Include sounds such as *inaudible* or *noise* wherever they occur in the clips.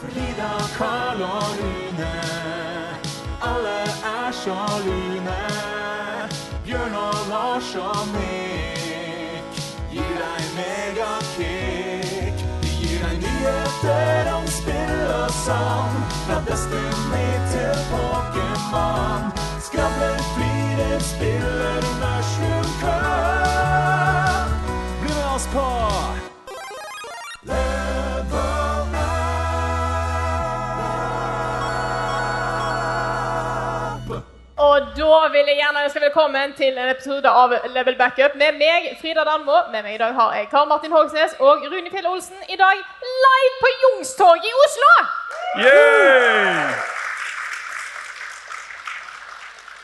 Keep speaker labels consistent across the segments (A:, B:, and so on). A: Frida, Karl og Rune. Alle er sjalune. Bjørn og Lars og Nick gir deg megakick. De gir deg nyheter om spill og sang. Fra Destiny til Pokémon. Skravler, flirer, spiller Mushroom Cup. Bli med oss på Level
B: Og da vil jeg gjerne ønske velkommen til en episode av Level Backup med meg, Frida Danmo. Med meg i dag har jeg Karl Martin Hogsnes og Rune Fjell Olsen. I dag live på Youngstorget i Oslo!
C: Yeah!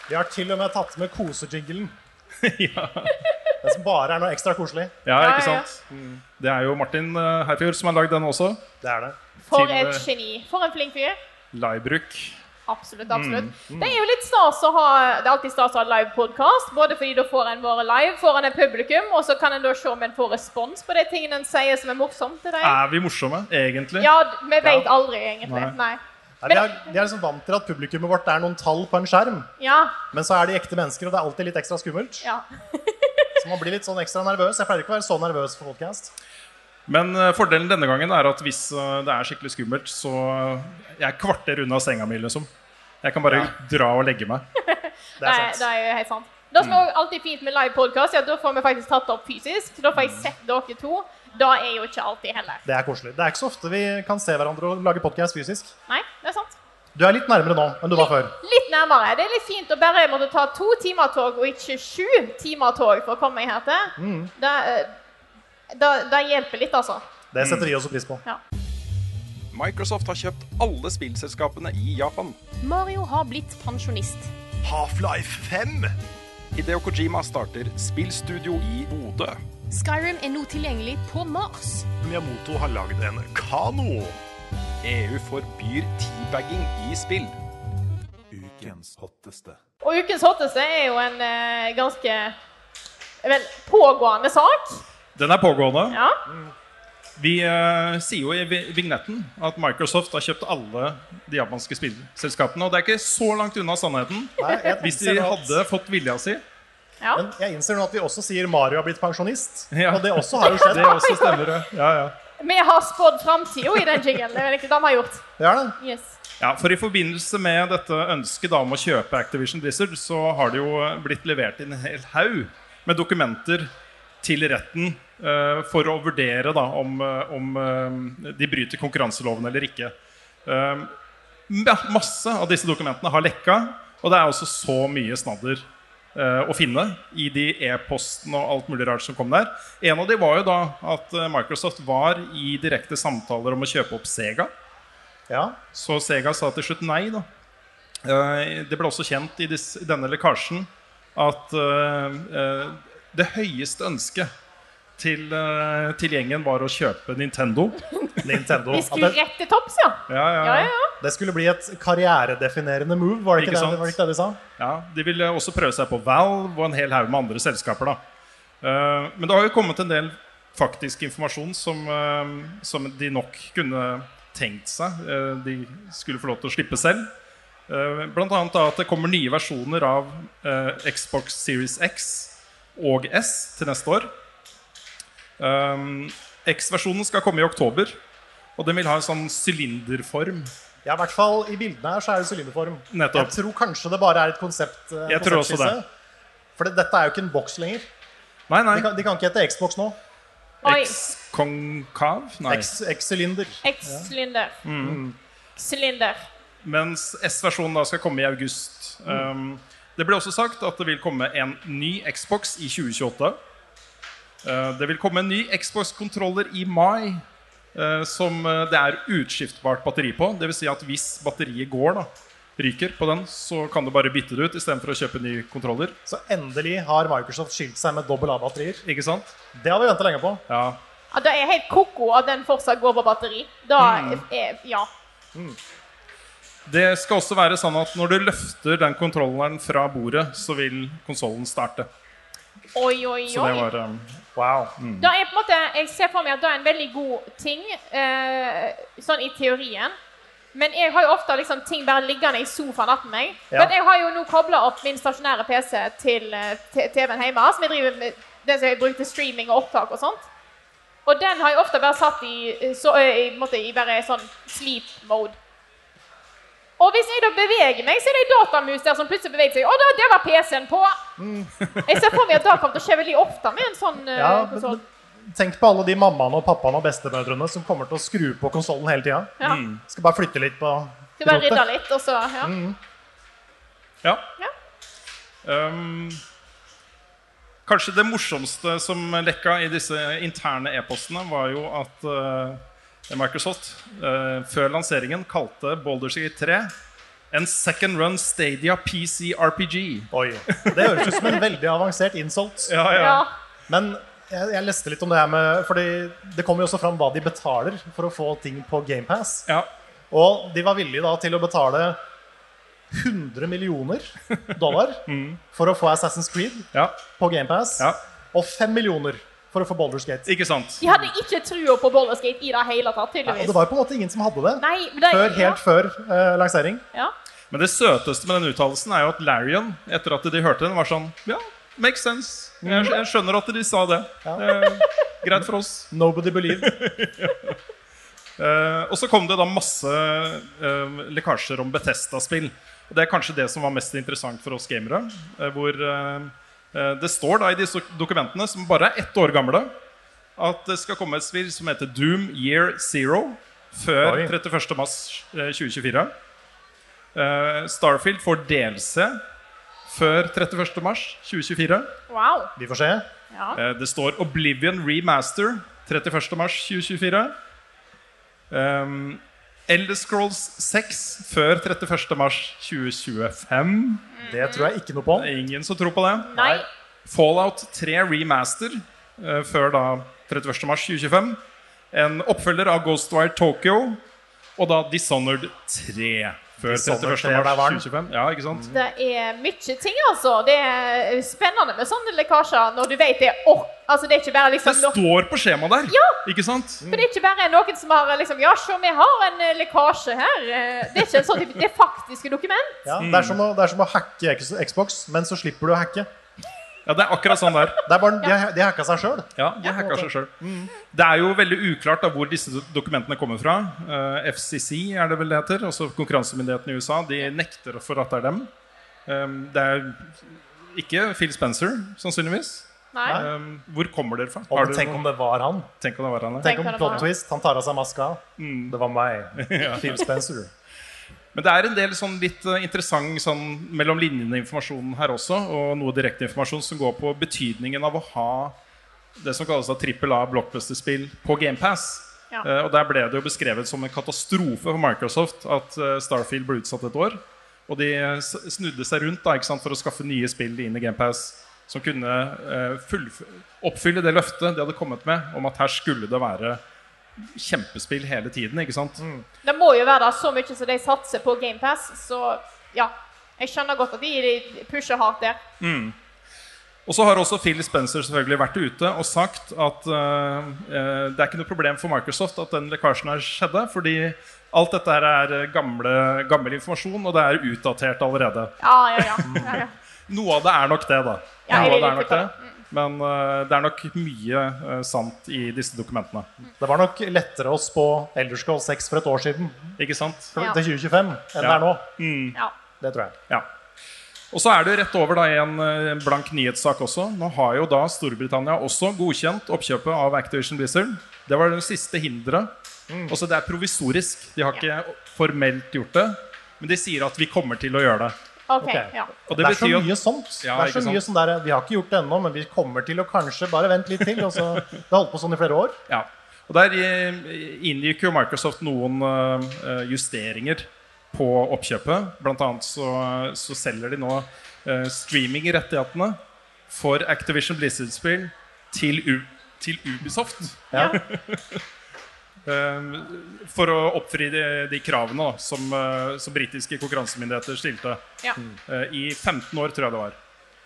C: Vi har til og med tatt med *laughs* kosejinglen. Den som bare er noe ekstra koselig.
B: Ja,
C: Ja,
B: ja,
C: ikke sant? Det er jo Martin eh, Herfjord som har lagd den også.
D: Det er det.
B: For
C: Til,
B: et
C: eh,
B: geni. For en flink fyr.
C: Livebruk. Mm,
B: Absolutt. absolutt. Det er jo litt stas å ha det er alltid stas å ha live podcast, både fordi da får en våre live, får en et publikum, og så kan en da se om en får respons på de tingene en sier som er morsomt til deg.
C: Er vi morsomme, egentlig?
B: Ja, d- vi vet
C: Ah. Ja.
B: aldri, egentlig.
C: Nei.
B: Nei.
C: Nei, de, er, de er liksom vant til at publikummet vårt er noen tall på en skjerm.
B: Ja.
C: Men så er de ekte mennesker, og det er alltid litt ekstra skummelt.
B: ja.
C: Så man blir litt sånn ekstra nervøs. Jeg pleier ikke å være så nervøs for podcast. Men eh, fordelen denne gangen er at hvis eh, det er skikkelig skummelt, så eh, Jeg er kvarter unna senga mi, liksom. Jeg kan bare dra og legge meg. Det
B: Nei, det er jo helt sant. Det som er også alltid fint med live podcast, er at da får vi faktisk tatt det opp fysisk. Da får jeg sett dere to. Da er jo ikke alltid heller.
C: Det er koselig. Det er ikke så ofte vi kan se hverandre og lage podcast fysisk.
B: Nei, det er sant.
C: Du er litt nærmere nå enn du var før.
B: Litt nærmere. Det er litt fint å bare måtte ta to timer tog, og ikke sju timer tog for å komme meg her til. Det, eh, det- det hjelper litt, altså.
C: Det setter vi også pris på.
E: Microsoft har kjøpt alle spillselskapene i Japan.
B: Mario har blitt pensjonist.
F: Half-Life 5?
E: Hideo Kojima starter spillstudio i Bodø.
B: Skyrim er nå tilgjengelig på Mars.
F: Miyamoto har lagd en kano.
E: EU E forbyr teabagging i spill.
F: Ukens hotteste.
B: Og ukens hotteste er jo en eh, ganske vel, pågående sak.
C: Den er pågående.
B: Ja.
C: Vi eh, sier jo i vi- vignetten at Microsoft har kjøpt alle de japanske spillselskapene. Og det er ikke så langt unna sannheten. Hvis de hadde fått vilja si.
B: Ja.
C: jeg innser nå at vi også sier Mario har blitt pensjonist.
A: og det også
C: har jo skjedd. Det også stemmer, eh. ja. ja, ja.
B: Vi har spådd framtida i den jinglen. Det er vel ikke det vi har gjort.
C: Det er det.
B: Yes.
A: Ja, for i forbindelse med dette ønsket da om å kjøpe Activision Blizzard, så har det jo blitt levert inn en hel haug med dokumenter til retten eh, for å vurdere da om, eh, om eh, de bryter konkurranseloven eller ikke. Eh, ma- masse av disse dokumentene har lekka, og det er også så mye snadder eh, å finne i de e-postene og alt mulig rart som kom der. En av de var jo da at eh, Microsoft var i direkte samtaler om å kjøpe opp Sega.
C: Ja.
A: Så Sega sa til slutt nei, da. Eh, Det ble også kjent i dis- denne lekkasjen at eh, eh, det høyeste ønsket til, eh, til gjengen var å kjøpe Nintendo.
C: Nintendo.
B: Vi skulle
C: At det,
B: rett til topps, ja.
A: Ja, ja,
B: Ja,
A: ja.
B: ja.
C: det skulle bli et karrieredefinerende move, var det ikke,
A: Ikke
C: det,
A: sant?
C: var det, ikke det de sa?
A: ja, De ville også prøve seg på Valve og en hel haug med andre selskaper. da. Eh, Men det har jo kommet en del faktisk informasjon som, eh, som de nok kunne tenkt seg eh, de skulle få lov til å slippe selv. Eh, Blant annet da at det kommer nye versjoner av eh, Xbox Series X og S til neste år. Eh, X-versjonen skal komme i oktober, og den vil ha en sånn sylinderform.
C: Ja, i hvert fall i bildene her så er det sylinderform.
A: Nettopp.
C: Jeg tror kanskje det bare er et konsept. eh,
A: Jeg tror også
C: konseptskisse.
A: det.
C: For dette er jo ikke en boks lenger.
A: Nei, nei.
C: De kan, de kan ikke hete Xbox nå.
B: Oi.
A: X-konkav? Nei.
C: X- X-sylinder.
B: X-sylinder.
A: Mm.
B: Sylinder.
A: Mens S-versjonen da skal komme i Ehm, august. Um, det ble også sagt at det vil komme en ny Xbox i 2028. Eh, Det vil komme en ny Xbox-kontroller i mai eh, som eh, det er utskiftbart batteri på. Dvs. Si at hvis batteriet går, da, ryker på den, så kan du bare bytte det ut istedenfor å kjøpe ny kontroller.
C: Så endelig har Microsoft skilt seg med dobbel A-batterier.
A: Ikke sant?
C: Det har vi venta lenge på.
A: Ja.
B: Ja, det er helt koko at den fortsatt går på batteri. Da
A: Mm.
B: er, ja.
A: Det skal også være sånn at når du løfter den kontrolleren fra bordet, så vil konsollen starte.
B: Oi, oi,
A: Så det
B: oi.
A: var eh,
C: Wow.
B: Da er på en måte, jeg ser for meg at det er en veldig god ting, eh, sånn i teorien. Men jeg har jo ofte liksom ting bare liggende i sofaen attmed meg.
C: Ja.
B: Men jeg har jo nå kobla opp min stasjonære PC til eh, t- TV-en hjemme, som jeg driver med den som jeg bruker til streaming og opptak og sånt. Og den har jeg ofte bare satt i, eh, så, eh, i, på en måte, i bare sånn sleep mode. Og hvis jeg da beveger meg, så er det en datamus der som plutselig beveger seg. Å, da, der var PC-en på! Jeg ser for meg at det kommer til å skje veldig ofte med en sånn
C: Mm.
B: uh,
C: Ja, men, men tenk på alle de mammaene og pappaene og bestemødrene som kommer til å skru på konsollen hele tida.
B: Ja.
C: Skal bare flytte litt på
B: Skal bare rydde
C: rotet.
B: litt, og så ja.
C: Mm.
A: Ja.
B: Ja.
A: Ehm, kanskje det morsomste som lekka i disse interne e-postene, var jo at eh, Microsoft eh, før lanseringen kalte Baldur's Gate 3 en second run Stadia PC RPG.
C: Oi. Det høres ut som en veldig avansert insult.
A: Ja, ja.
B: ja.
C: Men jeg, jeg leste litt om det her med Fordi det kommer jo også fram hva de betaler for å få ting på GamePass.
A: ja.
C: Og de var villige da til å betale 100 millioner
A: *laughs*
C: dollar for å få Assassin's Creed
A: ja,
C: på GamePass.
A: Mm. Ja.
C: Og 5 millioner for å få Baldur's Gate.
A: Ikke sant?
B: De hadde ikke trua på Baldur's Gate i det hele tatt,
C: Og
B: tydeligvis.
C: det var jo på en måte ingen som hadde det,
B: Nei, men det,
C: før, helt før eh, lansering.
B: ja.
A: Men det søteste med den uttalelsen er jo at Larion, etter at de hørte den, var sånn Ja, makes sense. Jeg, jeg skjønner at de sa det. det er greit for oss.
C: Nobody
A: *laughs*
C: believed.
A: Eh, og så kom det da masse eh, lekkasjer om Bethesda-spill. Og Det er kanskje det som var mest interessant for oss gamere. eh, hvor eh, eh, det står da i disse dokumentene, som bare er ett år gamle, at det skal komme et spill som heter Doom Year Zero før
C: Oi.
A: 31. mars eh, 2024. Eh, Starfield får DLC før 31. mars 2024.
B: Wow.
C: Vi får se.
B: Ja.
A: Eh, Det står Oblivion Remaster 31. mars 2024. Um, Elder Scrolls 6 før 31. mars 2025.
C: Det tror jeg ikke noe på.
A: Det er ingen som tror på det.
B: Nei.
A: Fallout 3 Remaster eh, før da 31. mars 2025. En oppfølger av Ghostwire Tokyo. Og da Dishonored 3 før
C: Dishonored
A: 31.
C: 3 er der
A: mars
C: varen.
A: 2025. Ja, ikke sant?
B: Det er mye ting, altså. Det er spennende med sånne lekkasjer når du vet det er ork. Altså, det er ikke bare
A: Det
B: liksom nok-
A: står på skjemaet der!
B: Ja.
A: Ikke sant?
B: For det er ikke bare noen som har liksom Ja, se, vi har en eh, lekkasje her. Eh, Det er ikke en sånn type Det er faktiske dokument.
C: Ja,
A: Mm.
C: det, er som å, det er som å hacke X- Xbox, men så slipper du å hacke.
A: Ja, det er akkurat sånn der.
C: Det er bare, de, har- de hacka seg sjøl.
A: Ja, de hacka seg selv Det er jo veldig uklart da hvor disse dokumentene kommer fra. Eh, FCC er det vel det heter, altså konkurransemyndigheten i USA. De nekter for at det er dem. Eh, det er ikke Phil Spencer, sannsynligvis.
B: Nei.
A: Eh, hvor kommer dere fra? Har
C: Og
A: du
C: tenk
A: noen-
C: om det var han.
A: tenk om det var han, ja.
C: Tenk om
B: Tenk om det var
C: plot
B: han.
C: twist. Han tar av seg maska.
A: Mm.
C: Det var
A: *laughs*
C: meg. Phil Spencer.
A: Men det er en del sånn litt eh, interessant sånn, mellom linjene-informasjon her også, og noe direkteinformasjon som går på betydningen av å ha det som kalles trippel A blockbuster-spill på GamePass.
B: Ja.
A: Eh, og der ble det jo beskrevet som en katastrofe for Microsoft at eh, Starfield ble utsatt et år. Og de eh, s- snudde seg rundt da, ikke sant, for å skaffe nye spill inn i GamePass som kunne eh, fullf- oppfylle det løftet de hadde kommet med om at her skulle det være kjempespill hele tiden. ikke sant?
B: Det må jo være da så mye som de satser på GamePass, så ja. Jeg skjønner godt at de, de pusher hardt der.
A: Og så har også Phil Spencer selvfølgelig vært ute og sagt at eh, eh, det er ikke noe problem for Microsoft at den lekkasjen her skjedde, fordi alt dette her er eh, gamle, gammel informasjon, og det er utdatert allerede.
B: Ja, ja, ja. ja, ja.
A: Noe av det er nok det, da.
B: Ja, jeg
A: Noe av
B: vil
A: det er
B: ikke
A: nok det. Men eh, det er nok mye eh, sant i disse dokumentene.
C: Det var nok lettere å spå Elderskål 6 for et år siden
A: Ikke sant?
B: Ja.
C: til 2025 enn det er nå.
B: ja.
C: Det tror jeg.
A: Ja. Og så er det jo rett over da i en eh, blank nyhetssak også. Nå har jo da Storbritannia også godkjent oppkjøpet av Activision Blizzard. Det var det siste hinderet. Altså, Også det er provisorisk. De har ikke formelt gjort det. Men de sier at vi kommer til å gjøre det.
B: Ok,
C: Ok.
B: ja.
A: Og
C: Det
A: det
C: er så
A: betyr jo
C: mye sånt.
A: Ja,
C: det er så
A: ikke
C: mye sånn der, Vi har ikke gjort det ennå, men vi kommer til å kanskje bare vente litt til. Og så, *laughs* det har holdt på sånn i flere år.
A: Ja. Og der eh, inngikk jo Microsoft noen eh, justeringer på oppkjøpet. Blant annet så, så selger de nå eh, streamingrettighetene for Activision Blizzard-spill til, U til Ubisoft.
C: Ja.
A: *laughs* Eh, for å oppfri de, de kravene da, som, eh, som britiske konkurransemyndigheter stilte.
B: Ja.
C: Mm.
A: Eh, I 15 år, tror jeg det var.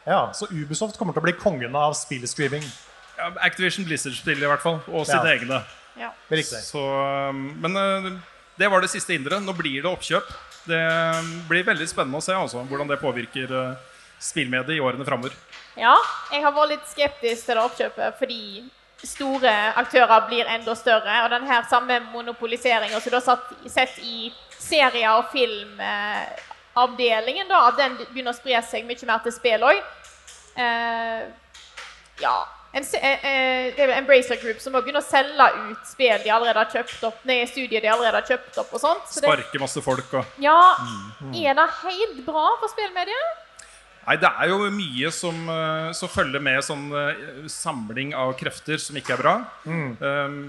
C: Ja, Så Ubisoft kommer til å bli kongen av spillstreaming.
A: Ja, Activision Blizzard-spill i hvert fall. Og
C: Ja.
A: sine egne.
B: ja.
C: Riktig.
A: Så, um, men uh, det var det siste hinderet. Nå blir det oppkjøp. Det um, blir veldig spennende å se altså, hvordan det påvirker uh, spillmediet i årene framover.
B: Ja, jeg har vært litt skeptisk til det oppkjøpet fordi store aktører blir enda større, og den her samme monopoliseringen som du har satt, sett i serier og filmavdelingen, da, at den begynner å spre seg mye mer til spill òg. ja en, se- eh, eh, Det er vel Embracer Group som må begynne å selge ut spill de allerede har kjøpt opp, nei, studier de allerede har kjøpt opp og sånt. Så det,
A: Sparke masse folk og
B: ja, er det helt bra for spillmediet?
A: Nei, det er jo mye som, eh, som følger med sånn eh, samling av krefter som ikke er bra. Um,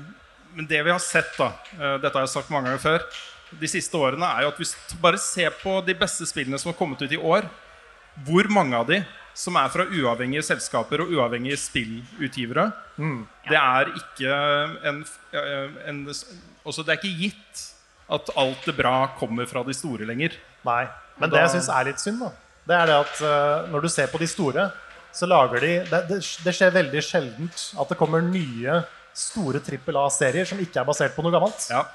A: men det vi har sett, da eh, Dette har jeg sagt mange ganger før. De siste årene er jo at hvis du bare ser på de beste spillene som har kommet ut i år, hvor mange av de som er fra uavhengige selskaper og uavhengige spillutgivere, det er ikke en, eh, en også Det er ikke gitt at alt det bra kommer fra de store lenger.
C: Nei. Men det jeg syns er litt synd, da, det er det at eh, når du ser på de store, så lager de Det, det, det skjer veldig sjeldent at det kommer nye store trippel A-serier som ikke er basert på noe gammelt.
A: Ja.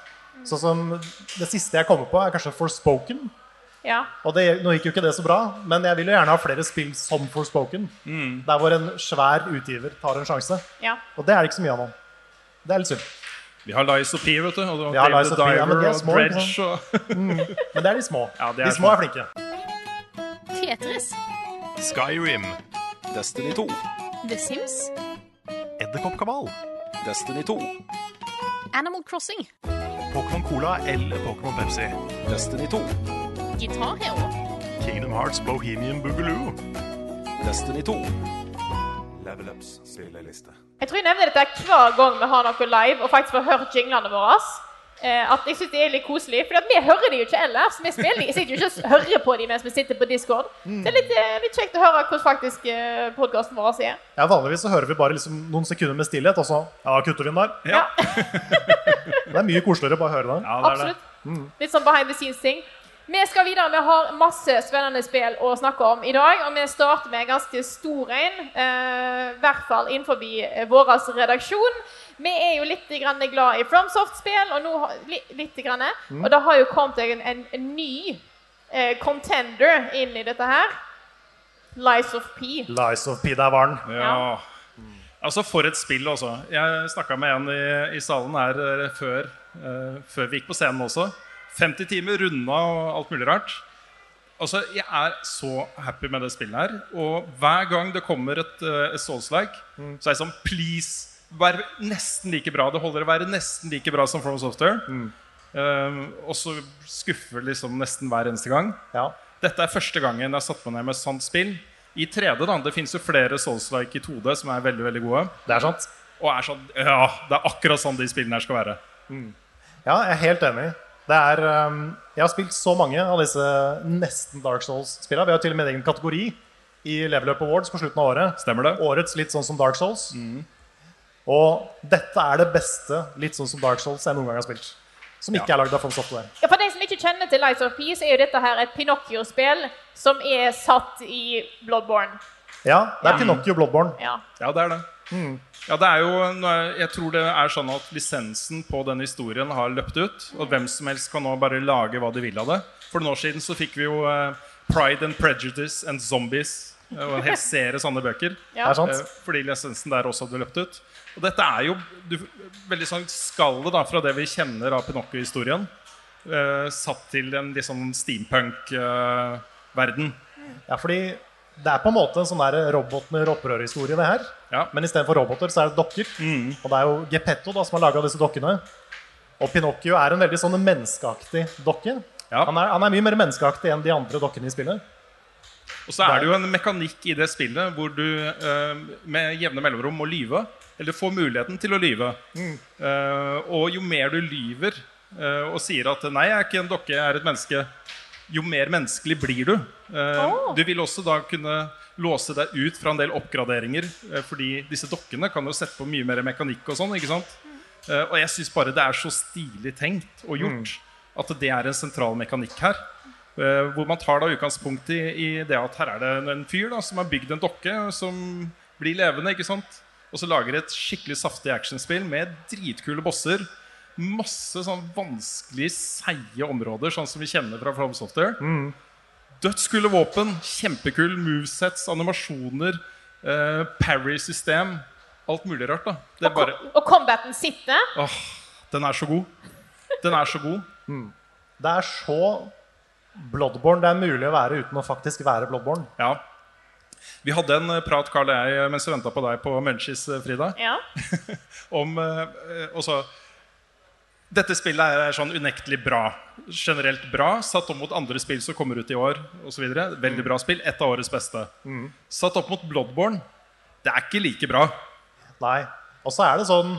C: Sånn som Det siste jeg kommer på, er kanskje Forspoken.
B: Ja.
C: Og det, nå gikk jo ikke det så bra, men jeg vil jo gjerne ha flere spill som Forspoken.
A: Mm.
C: Der hvor en svær utgiver tar en sjanse.
B: ja.
C: Og det er det ikke så mye av nå. Det er litt synd.
A: Vi har Lies of P, vet du. Og
C: Ja,
A: Dave
C: Lies
A: the
C: of P, ja, men
A: Diver
C: de er
A: og
C: små, ikke
A: Dredge og
C: Men det er de små.
A: Ja, de
C: de,
A: er
C: små
A: små.
C: er flinke.
G: Tetris.
H: Skyrim.
E: Destiny 2.
G: The Sims.
H: Edderkoppkabal.
E: Destiny 2.
G: Animal Crossing.
H: Pokémon Cola eller Pokémon Pepsi.
E: Destiny 2.
G: Guitar Hero.
H: Kingdom Hearts Bohemian Boogaloo.
E: Destiny 2.
H: Level Ups spilleliste.
B: Jeg tror jeg nevner dette hver gang vi har noe live og faktisk får hørt jinglene våre. Eh, at jeg synes det er litt koselig, for vi hører de jo ikke ellers. Vi spiller, jeg sitter jo ikke og hører på de mens vi sitter på Discord. Så det er litt, eh, litt kjekt å høre hvordan faktisk eh, podkasten vår er.
C: Ja, Vanligvis så hører vi bare liksom noen sekunder med stillhet, og så ja, kutter vi den der.
A: Ja.
C: *laughs* Det er mye koseligere å bare høre det.
A: *laughs* Ja, det er det. Mm.
B: Absolutt. Litt sånn behind the scenes-ting. Vi skal videre. Vi har masse spennende spill å snakke om i dag. Og vi starter med en ganske stor en. eh, I hvert fall innenfor eh, vår redaksjon. Vi er jo litt grann glad i Fromsoft-spill, og nå har- li, litt grann,
A: Mm.
B: Og det har jo kommet en, en, en ny eh, contender inn i dette her. Lies of P.
C: Lies of P, der var den.
A: Ja. Altså, for et spill, altså. Jeg snakka med en i, i salen her eh, før, eh, før vi gikk på scenen også. 50 timer runda og alt mulig rart. Altså, Jeg er så happy med det spillet her. Og hver gang det kommer et, eh, et Souls-like,
C: Mm.
A: så er jeg sånn Please, vær nesten like bra. Det holder å være nesten like bra som From Software.
C: Mm.
A: Eh, og så skuffer liksom nesten hver eneste gang.
C: Ja.
A: Dette er første gangen jeg har satt meg ned med et sånt spill. I 3D, da. Det fins jo flere Souls-like i 2D som er veldig veldig gode.
C: Det er sant.
A: Og er sånn Ja, det er akkurat sånn de spillene her skal være.
C: Ja, jeg er helt enig. Det er, um, jeg har spilt så mange av disse nesten Dark Souls-spillene. Vi har jo til og med en egen kategori i Level Up Awards på slutten av året.
A: Stemmer det? Mm.
C: Årets litt sånn som Dark Souls. Og dette er det beste litt sånn som Dark Souls jeg noen gang har spilt. Som ikke er lagd av From Software.
B: Ja, for de som ikke kjenner til Lies of P, så er jo dette her et Pinocchio-spill som er satt i Bloodborne.
C: Ja, det er Pinocchio Bloodborne.
B: Ja.
A: Ja, det er det.
C: Mm.
A: Ja, det er jo, nå er- jeg tror det er sånn at lisensen på den historien har løpt ut. Og hvem som helst kan nå bare lage hva de vil av det. For noen år siden så fikk vi jo eh, Pride and Prejudice and Zombies. eh, Og en hel serie sånne
C: *laughs*
A: bøker.
C: Det
B: Ja.
C: er sant.
A: Eh, Fordi lisensen der også hadde løpt ut. Og dette er jo du, veldig sånn skallet da, fra det vi kjenner av Pinocchio-historien, eh, satt til en litt sånn eh, steampunk-verden.
C: Ja, fordi det er på en måte en sånn der robotene-opprør-historie, det her.
A: Ja. Mm.
C: Men istedenfor roboter, så er det dokker. Og det er jo Geppetto da, som har laga disse dokkene. Og Pinocchio er en veldig sånn menneskeaktig dokke.
A: Ja.
C: Han, er, han er mye mer menneskeaktig enn de andre dokkene i spillet.
A: Og så er det jo en mekanikk i det spillet hvor du eh, med jevne mellomrom må lyve. Eller får muligheten til å lyve. Eh, og jo mer du lyver eh, og sier at 'nei, jeg er ikke en dokke, jeg er et menneske', jo mer menneskelig blir du. Eh,
B: Åh.
A: Du vil også da kunne låse deg ut fra en del oppgraderinger, eh, fordi disse dokkene kan jo sette på mye mer mekanikk og sånn. ikke sant? Eh, og jeg syns bare det er så stilig tenkt og gjort at det er en sentral mekanikk her. Eh, hvor man tar da utgangspunkt i, i det at her er det en- en fyr da, som har bygd en dokke som blir levende. ikke sant? Og så lager et skikkelig saftig actionspill med dritkule bosser. Masse sånn vanskelig seige områder, sånn som vi kjenner fra From Software. Dødskule våpen, kjempekul movesets, animasjoner, eh, parry-system. Alt mulig rart. da Det er bare,
B: Og combaten sitter.
A: Åh, den er så god. Den er så god.
C: Det er så Bloodborne det er mulig å være uten å faktisk være Bloodborne.
A: Ja. Vi hadde en eh, prat, Carl og jeg, mens vi venta på deg på Munchies, eh, Frida,
B: Ja.
A: om eh, eh, også, Dette spillet er sånn unektelig bra. Generelt bra. Satt opp mot andre spill som kommer ut i år osv. Veldig bra spill. Et av årets beste. Satt opp mot Bloodborne. Det er ikke like bra.
C: Nei. Og så er det sånn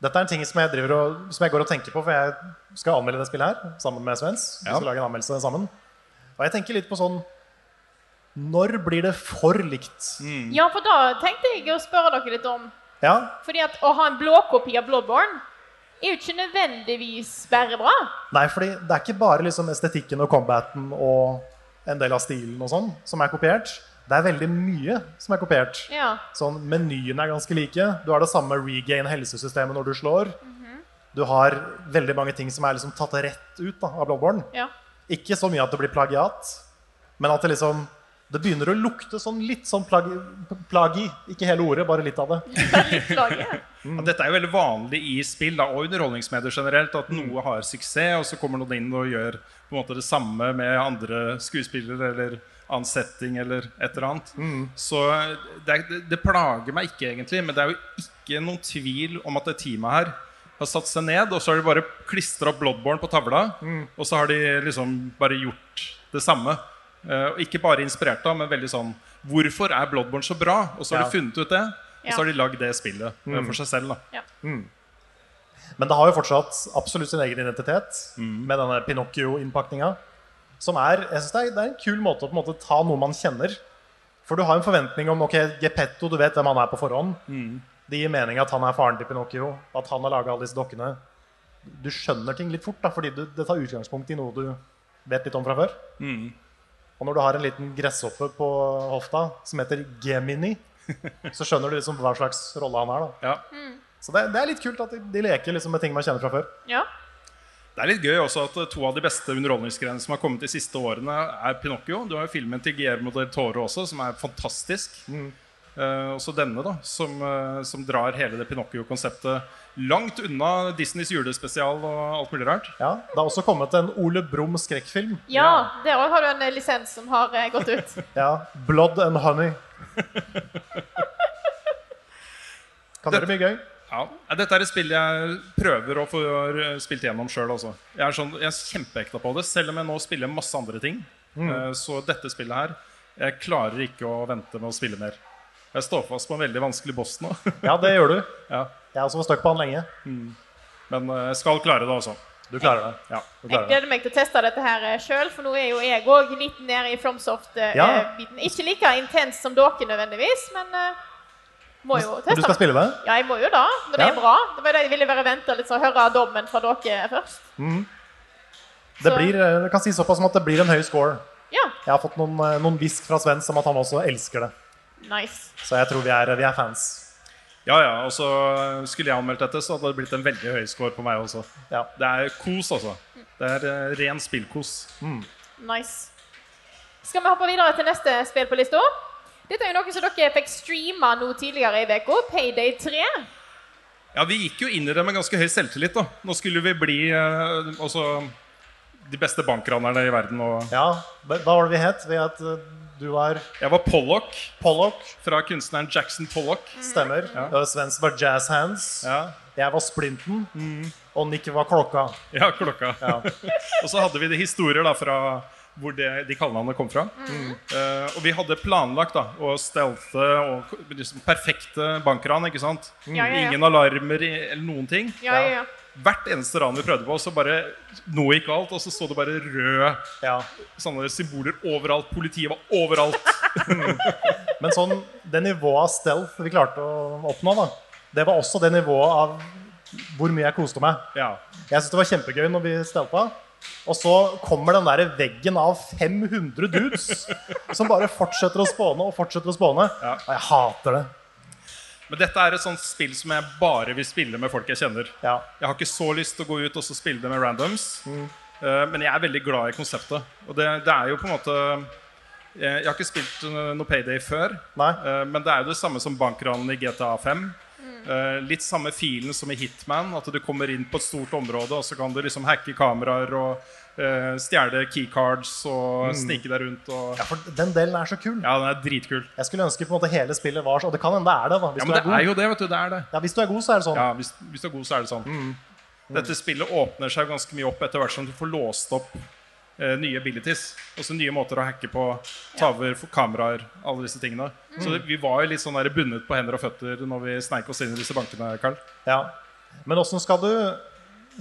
C: Dette er en ting som jeg, driver og, som jeg går og tenker på, for jeg skal anmelde det spillet her sammen med Svens. Vi
A: Ja.
C: skal lage en anmeldelse sammen. Og jeg tenker litt på sånn Når blir det for likt?
B: ja, for da tenkte jeg å spørre dere litt om
C: Ja,
B: Fordi at å ha en blåkopi av Bloodborne er jo ikke nødvendigvis bare bra.
C: Nei, fordi det er ikke bare liksom estetikken og combaten og en del av stilen og sånn som er kopiert. Det er veldig mye som er kopiert.
B: Ja.
C: Sånn, Menyene er ganske like. Du har det samme regain helsesystemet når du slår. Du har veldig mange ting som er liksom tatt rett ut da, av Bloodborne.
B: Ja.
C: Ikke så mye at det blir plagiat, men at det liksom det begynner å lukte sånn litt sånn plagi, plagi. Ikke hele ordet, bare litt av det.
B: Beklager.
A: Ja, Dette er jo veldig vanlig i spill da, og underholdningsmedier generelt. At noe har suksess, og så kommer noen inn og gjør på en måte det samme med andre skuespillere eller annen setting eller et eller annet. Så eh, det, er- det, det plager meg ikke egentlig, men det er jo ikke noen tvil om at det teamet her har satt seg ned, og så har de bare klistra opp Bloodborne på tavla, og så har de liksom bare gjort det samme. Eh, og ikke bare inspirert av, men veldig sånn Hvorfor er Bloodborne så bra? Og så har
C: Ja.
A: de funnet ut det, og
B: Ja.
A: så har de lagd det spillet eh, for seg selv. da
C: Men det har jo fortsatt absolutt sin egen identitet med denne Pinocchio-innpakninga. Som er jeg synes det, er, det er en kul måte å på en måte ta noe man kjenner. For du har en forventning om ok, Geppetto, du vet hvem han er på forhånd. Det gir mening at han er faren til Pinocchio, at han har laga alle disse dokkene. Du skjønner ting litt fort, da, fordi du, det tar utgangspunkt i noe du vet litt om fra før. Og når du har en liten gresshoppe på hofta som heter Gemini, så skjønner du liksom hva slags rolle han er. da.
A: Ja.
C: Så det, det er litt kult at de, de leker liksom med ting man kjenner fra før.
B: Ja.
A: Det er litt gøy også at eh, to av de beste underholdningsgrenene som har kommet de siste årene, er Pinocchio. Du har jo filmen til Guillermo del Toro også, som er fantastisk. Eh, også denne, da, som, eh, som drar hele det Pinocchio-konseptet langt unna Disneys julespesial og alt mulig rart.
C: Ja, Det har også kommet en Ole Brumm skrekkfilm.
B: ja, der òg har du en eh, lisens som har eh, gått ut.
C: Ja, 'Blood and Honey'. Kan være mye gøy.
A: Ja, Nei, Dette er et spill jeg prøver å få eh, spilt gjennom sjøl. Altså. Jeg er, sånn, jeg er kjempeekta på det, selv om jeg nå spiller masse andre ting.
C: Mm.
A: Eh, Så dette spillet her Jeg klarer ikke å vente med å spille mer. Jeg står fast på en veldig vanskelig boss nå. *laughs*
C: Ja, det gjør du.
A: ja.
C: Jeg har også vært stuck på han lenge.
A: Men eh, jeg skal klare det, altså.
C: Du klarer det. Ja, du
B: Jeg
C: klarer det.
B: gleder meg til å teste dette her sjøl, for nå er jo jeg òg litt nede i Fromsoft-biten.
C: Ja.
B: Ikke like intens som dere nødvendigvis, men eh, må jo
C: Men Du skal
B: teste.
C: spille det?
B: Ja, jeg må jo da, når det
C: Ja.
B: er bra. Det var det jeg ville bare vente litt, så høre dommen fra dere først.
C: Det
B: Så-
C: blir, eh, jeg kan si såpass som at det blir en høy score.
B: Ja,
C: Jeg har fått noen, eh, noen hvisk fra Sven om at han også elsker det.
B: nice.
C: Så jeg tror vi er, vi er fans.
A: Ja, ja, og så Skulle jeg anmeldt dette, så hadde det blitt en veldig høy score på meg også.
C: Ja.
A: Det er kos, altså. Det er eh, ren spillkos.
B: Nice. Skal vi hoppe videre til neste spill på lista? Dette er jo noe som dere fikk streama nå tidligere i uka, Payday 3.
A: Ja, vi gikk jo inn i det med ganske høy selvtillit, da. Nå skulle vi bli eh, altså de beste bankranerne i verden. Og
C: Ja, Hva hva var det vi het? Vi het eh, Du var
A: jeg var Pollock
C: Pollock.
A: fra kunstneren Jackson Pollock.
B: Mm.
C: Stemmer. Eh, Svens var Jazz Hands.
A: Ja,
C: Jeg var Splinten.
A: Mm.
C: Og Nick var Klokka.
A: ja klokka.
C: Ja.
A: *laughs* Og så hadde vi de historier da fra hvor det, de kallenavnene kom fra.
B: Mm.
A: Eh, og vi hadde planlagt da, å stelte og liksom, perfekte bankran. ikke sant?
B: Ja, ja, ja.
A: Ingen alarmer i- eller noen ting.
B: Ja, ja, ja.
A: Hvert eneste ran vi prøvde på, så bare noe gikk galt. Og så så det bare røde
C: Ja.
A: sånne symboler overalt. Politiet var
C: *laughs*
A: overalt.
C: Men sånn, det nivået av stealth vi klarte å oppnå, da, det var også det nivået av hvor mye jeg koste meg.
A: Ja.
C: Jeg synes det var kjempegøy når vi stealtha. Og så kommer den der veggen av 500
A: *laughs*
C: dudes som bare fortsetter å spåne og fortsetter å spåne.
A: Ja.
C: Og jeg hater det.
A: Men dette er et sånt spill som jeg bare vil spille med folk jeg kjenner.
C: Ja. Mm.
A: Jeg har ikke så lyst til å gå ut og så spille det med randoms. Eh, men jeg er veldig glad i konseptet. Og det, det er jo på en måte Jeg, jeg har ikke spilt eh, noe Payday før.
C: Nei.
A: Eh, men det er jo det samme som bankranen i GTA5.
C: Mm.
A: Eh, litt samme filen som i Hitman. At du kommer inn på et stort område, og så kan du liksom hacke kameraer og eh, stjele keycards og
C: Mm.
A: snike deg rundt og
C: Ja, for den delen er så kul.
A: Ja, den er dritkul.
C: Jeg skulle ønske på en måte hele spillet var sånn. Og det kan hende det er det, da. Hvis,
A: Ja, men
C: du
A: det
C: er god.
A: er jo det, vet du. Det er det.
C: Ja, hvis du er god, så er det sånn.
A: Ja, hvis, hvis du er god, så er det sånn. Dette spillet åpner seg ganske mye opp etter hvert som du får låst opp eh, nye abilities. Også nye måter å hacke på. Taver, f- kameraer, alle disse tingene. Så det, vi var jo litt sånn der bundet på hender og føtter når vi sneik oss inn i disse bankene. Karl.
C: Ja. Men åssen skal du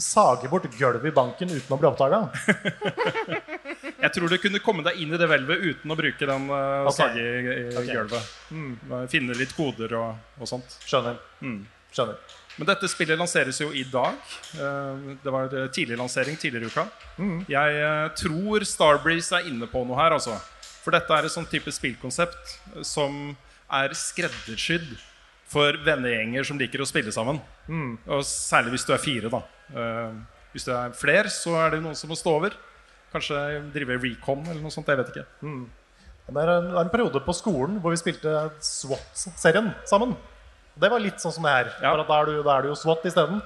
C: sage bort gulvet i banken uten å bli oppdaga?
A: Jeg tror du kunne komme deg inn i det hvelvet uten å bruke den eh,
C: Ok.
A: sage i, i
C: Ok.
A: gulvet. Eh, Finne litt koder og, og sånt.
C: Skjønner. Mm. Skjønner.
A: Men dette spillet lanseres jo i dag. Eh, Det var eh, tidlig lansering tidligere i uka. Jeg eh, tror Starbreeze er inne på noe her, altså. For dette er et sånn type spillkonsept eh, som er skreddersydd for vennegjenger som liker å spille sammen. Og særlig hvis du er fire, da. Eh, Hvis du er fler, så er det jo noen som må stå over. Kanskje drive recon eller noe sånt. Jeg vet ikke.
C: Det er en, det er en periode på skolen hvor vi spilte SWAT-serien sammen. Det var litt sånn som det her.
A: Ja.
C: Bare at da er du, da er du jo SWAT isteden.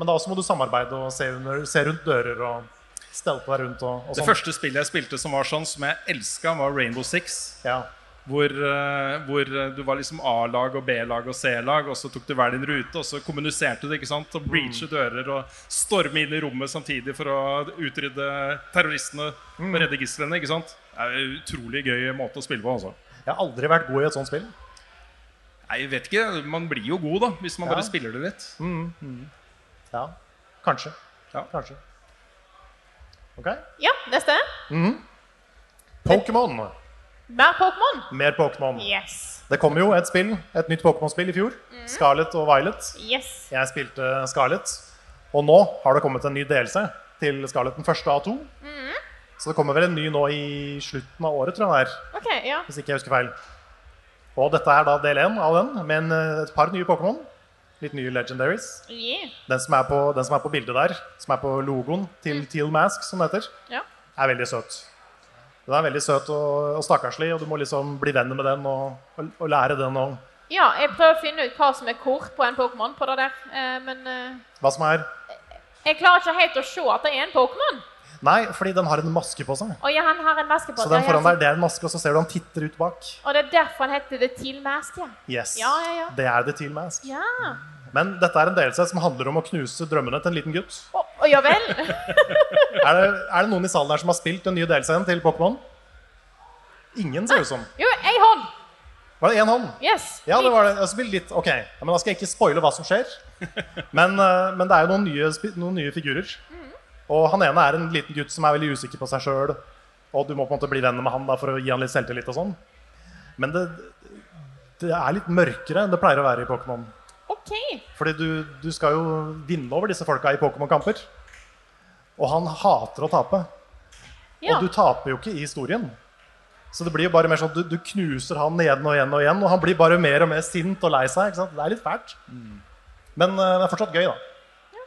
C: Men da også må du samarbeide og se, under, se rundt dører og stelte deg rundt. Og, og
A: Det
C: sånn.
A: første spillet jeg spilte som var sånn, som jeg elska, var Rainbow Six.
C: Ja.
A: Hvor, eh, hvor eh, du var liksom A-lag og B-lag og C-lag, og så tok du hver din rute, og så kommuniserte du, ikke sant? Og breache dører og storme inn i rommet samtidig for å utrydde terroristene og redde gislene, ikke sant? Det er en utrolig gøy måte å spille på, altså.
C: Jeg har aldri vært god i et sånt spill.
A: Nei, jeg vet ikke. Man blir jo god, da, hvis man
C: Ja.
A: bare spiller det litt.
C: Ja, kanskje.
A: Ja.
C: Kanskje. Ok.
B: Ja, neste.
C: Pokémon.
B: Mer Pokémon.
C: Mer Pokémon.
B: Yes.
C: Det kom jo et spill, et nytt Pokémon-spill i fjor. Scarlet og Violet.
B: Yes.
C: Jeg spilte Scarlet. Og nå har det kommet en ny delelse til Scarlet den første av to. Så det kommer vel en ny nå i slutten av året, tror jeg det er.
B: OK, ja.
C: Hvis ikke jeg husker feil. Og dette er da del én av den, med en, eh, et par nye Pokémon. Litt nye legendaries.
B: Yeah.
C: Den som, er på, den som er på bildet der, som er på logoen til Teal Mask, som det heter,
B: Ja.
C: er veldig søt. Den er veldig søt og, og stakkarslig, og du må liksom bli venner med den og, og, og lære den og
B: ja, jeg prøver å finne ut hva som er hvor på en Pokémon på det der, eh, men eh,
C: hva som er
B: jeg klarer ikke helt å se at det er en Pokémon.
C: Nei, fordi den har en maske på seg.
B: Og ja, han har en maske på.
C: Så den
B: Ja,
C: foran
B: ja,
C: der, det er en maske, og så ser du han titter ut bak.
B: Og det er derfor han heter The Teal Mask, ja.
C: Yes.
B: Ja, ja, ja.
C: Det er The Teal Mask.
B: Ja.
C: Men dette er en delelse som handler om å knuse drømmene til en liten gutt.
B: Å, å, ja vel.
C: Er det, er det noen i salen her som har spilt den nye delelsen til Pokémon? Ingen, ser det ut som.
B: Jo, ei hånd.
C: Var det én hånd?
B: Yes.
C: Ja, det var det. Jeg spilte litt. Ok, ja, men Da skal jeg ikke spoile hva som skjer. Men, eh, men det er jo noen nye, spi- noen nye figurer. Og han ene er en liten gutt som er veldig usikker på seg sjøl. Og du må på en måte bli venn med han da, for å gi han litt selvtillit og sånn. Men det, det er litt mørkere enn det pleier å være i Pokémon.
B: OK.
C: Fordi du, du skal jo vinne over disse folka i Pokémon-kamper. Og han hater å tape.
B: Ja.
C: Og du taper jo ikke i historien. Så det blir jo bare mer sånn at du, du knuser han igjen og igjen og igjen, og han blir bare mer og mer sint og lei seg. ikke sant? Det er litt fælt. Men eh, det er fortsatt gøy, da.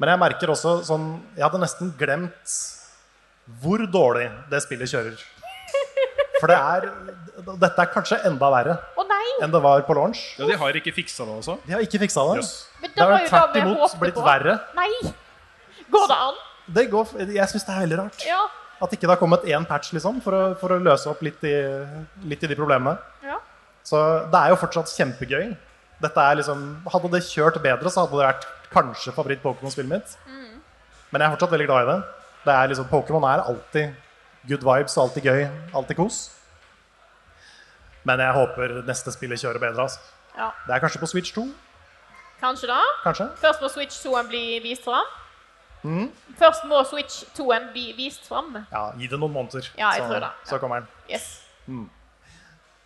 C: Men jeg merker også sånn Jeg hadde nesten glemt hvor dårlig det spillet kjører. For det er Dette er kanskje enda verre
B: Å nei.
C: enn det var på launch.
A: Ja, de har ikke fiksa det, altså.
C: De har ikke fiksa det.
A: Yes.
B: Men
C: Det
B: det
C: har
B: var jo
C: tvert
B: det vi
C: imot
B: håpte
C: blitt
B: på.
C: verre.
B: Nei. Går det an?
C: Det går, jeg syns det er veldig rart.
B: Ja.
C: At ikke det har kommet én patch liksom, for, å, for å løse opp litt i, litt i de problemene.
B: ja.
C: Så det er jo fortsatt kjempegøy. Dette er liksom, hadde det kjørt bedre, så hadde det vært kanskje
B: Mm.
C: favoritt-Pokémon-spillet mitt. Men jeg er fortsatt veldig glad i det. det er liksom, Pokémon er alltid Good vibes, alltid gøy, alltid kos. Men jeg håper neste spillet kjører bedre. Altså.
B: Ja,
C: Det er kanskje på Switch 2,
B: kanskje da.
C: kanskje?
B: Først må Switch 2-en bli vist fram.
C: Mm.
B: Først må Switch 2-en bli vist fram.
C: Ja, Gi det noen måneder,
B: Ja, jeg
C: så,
B: tror det.
C: så kommer den.
B: Yes.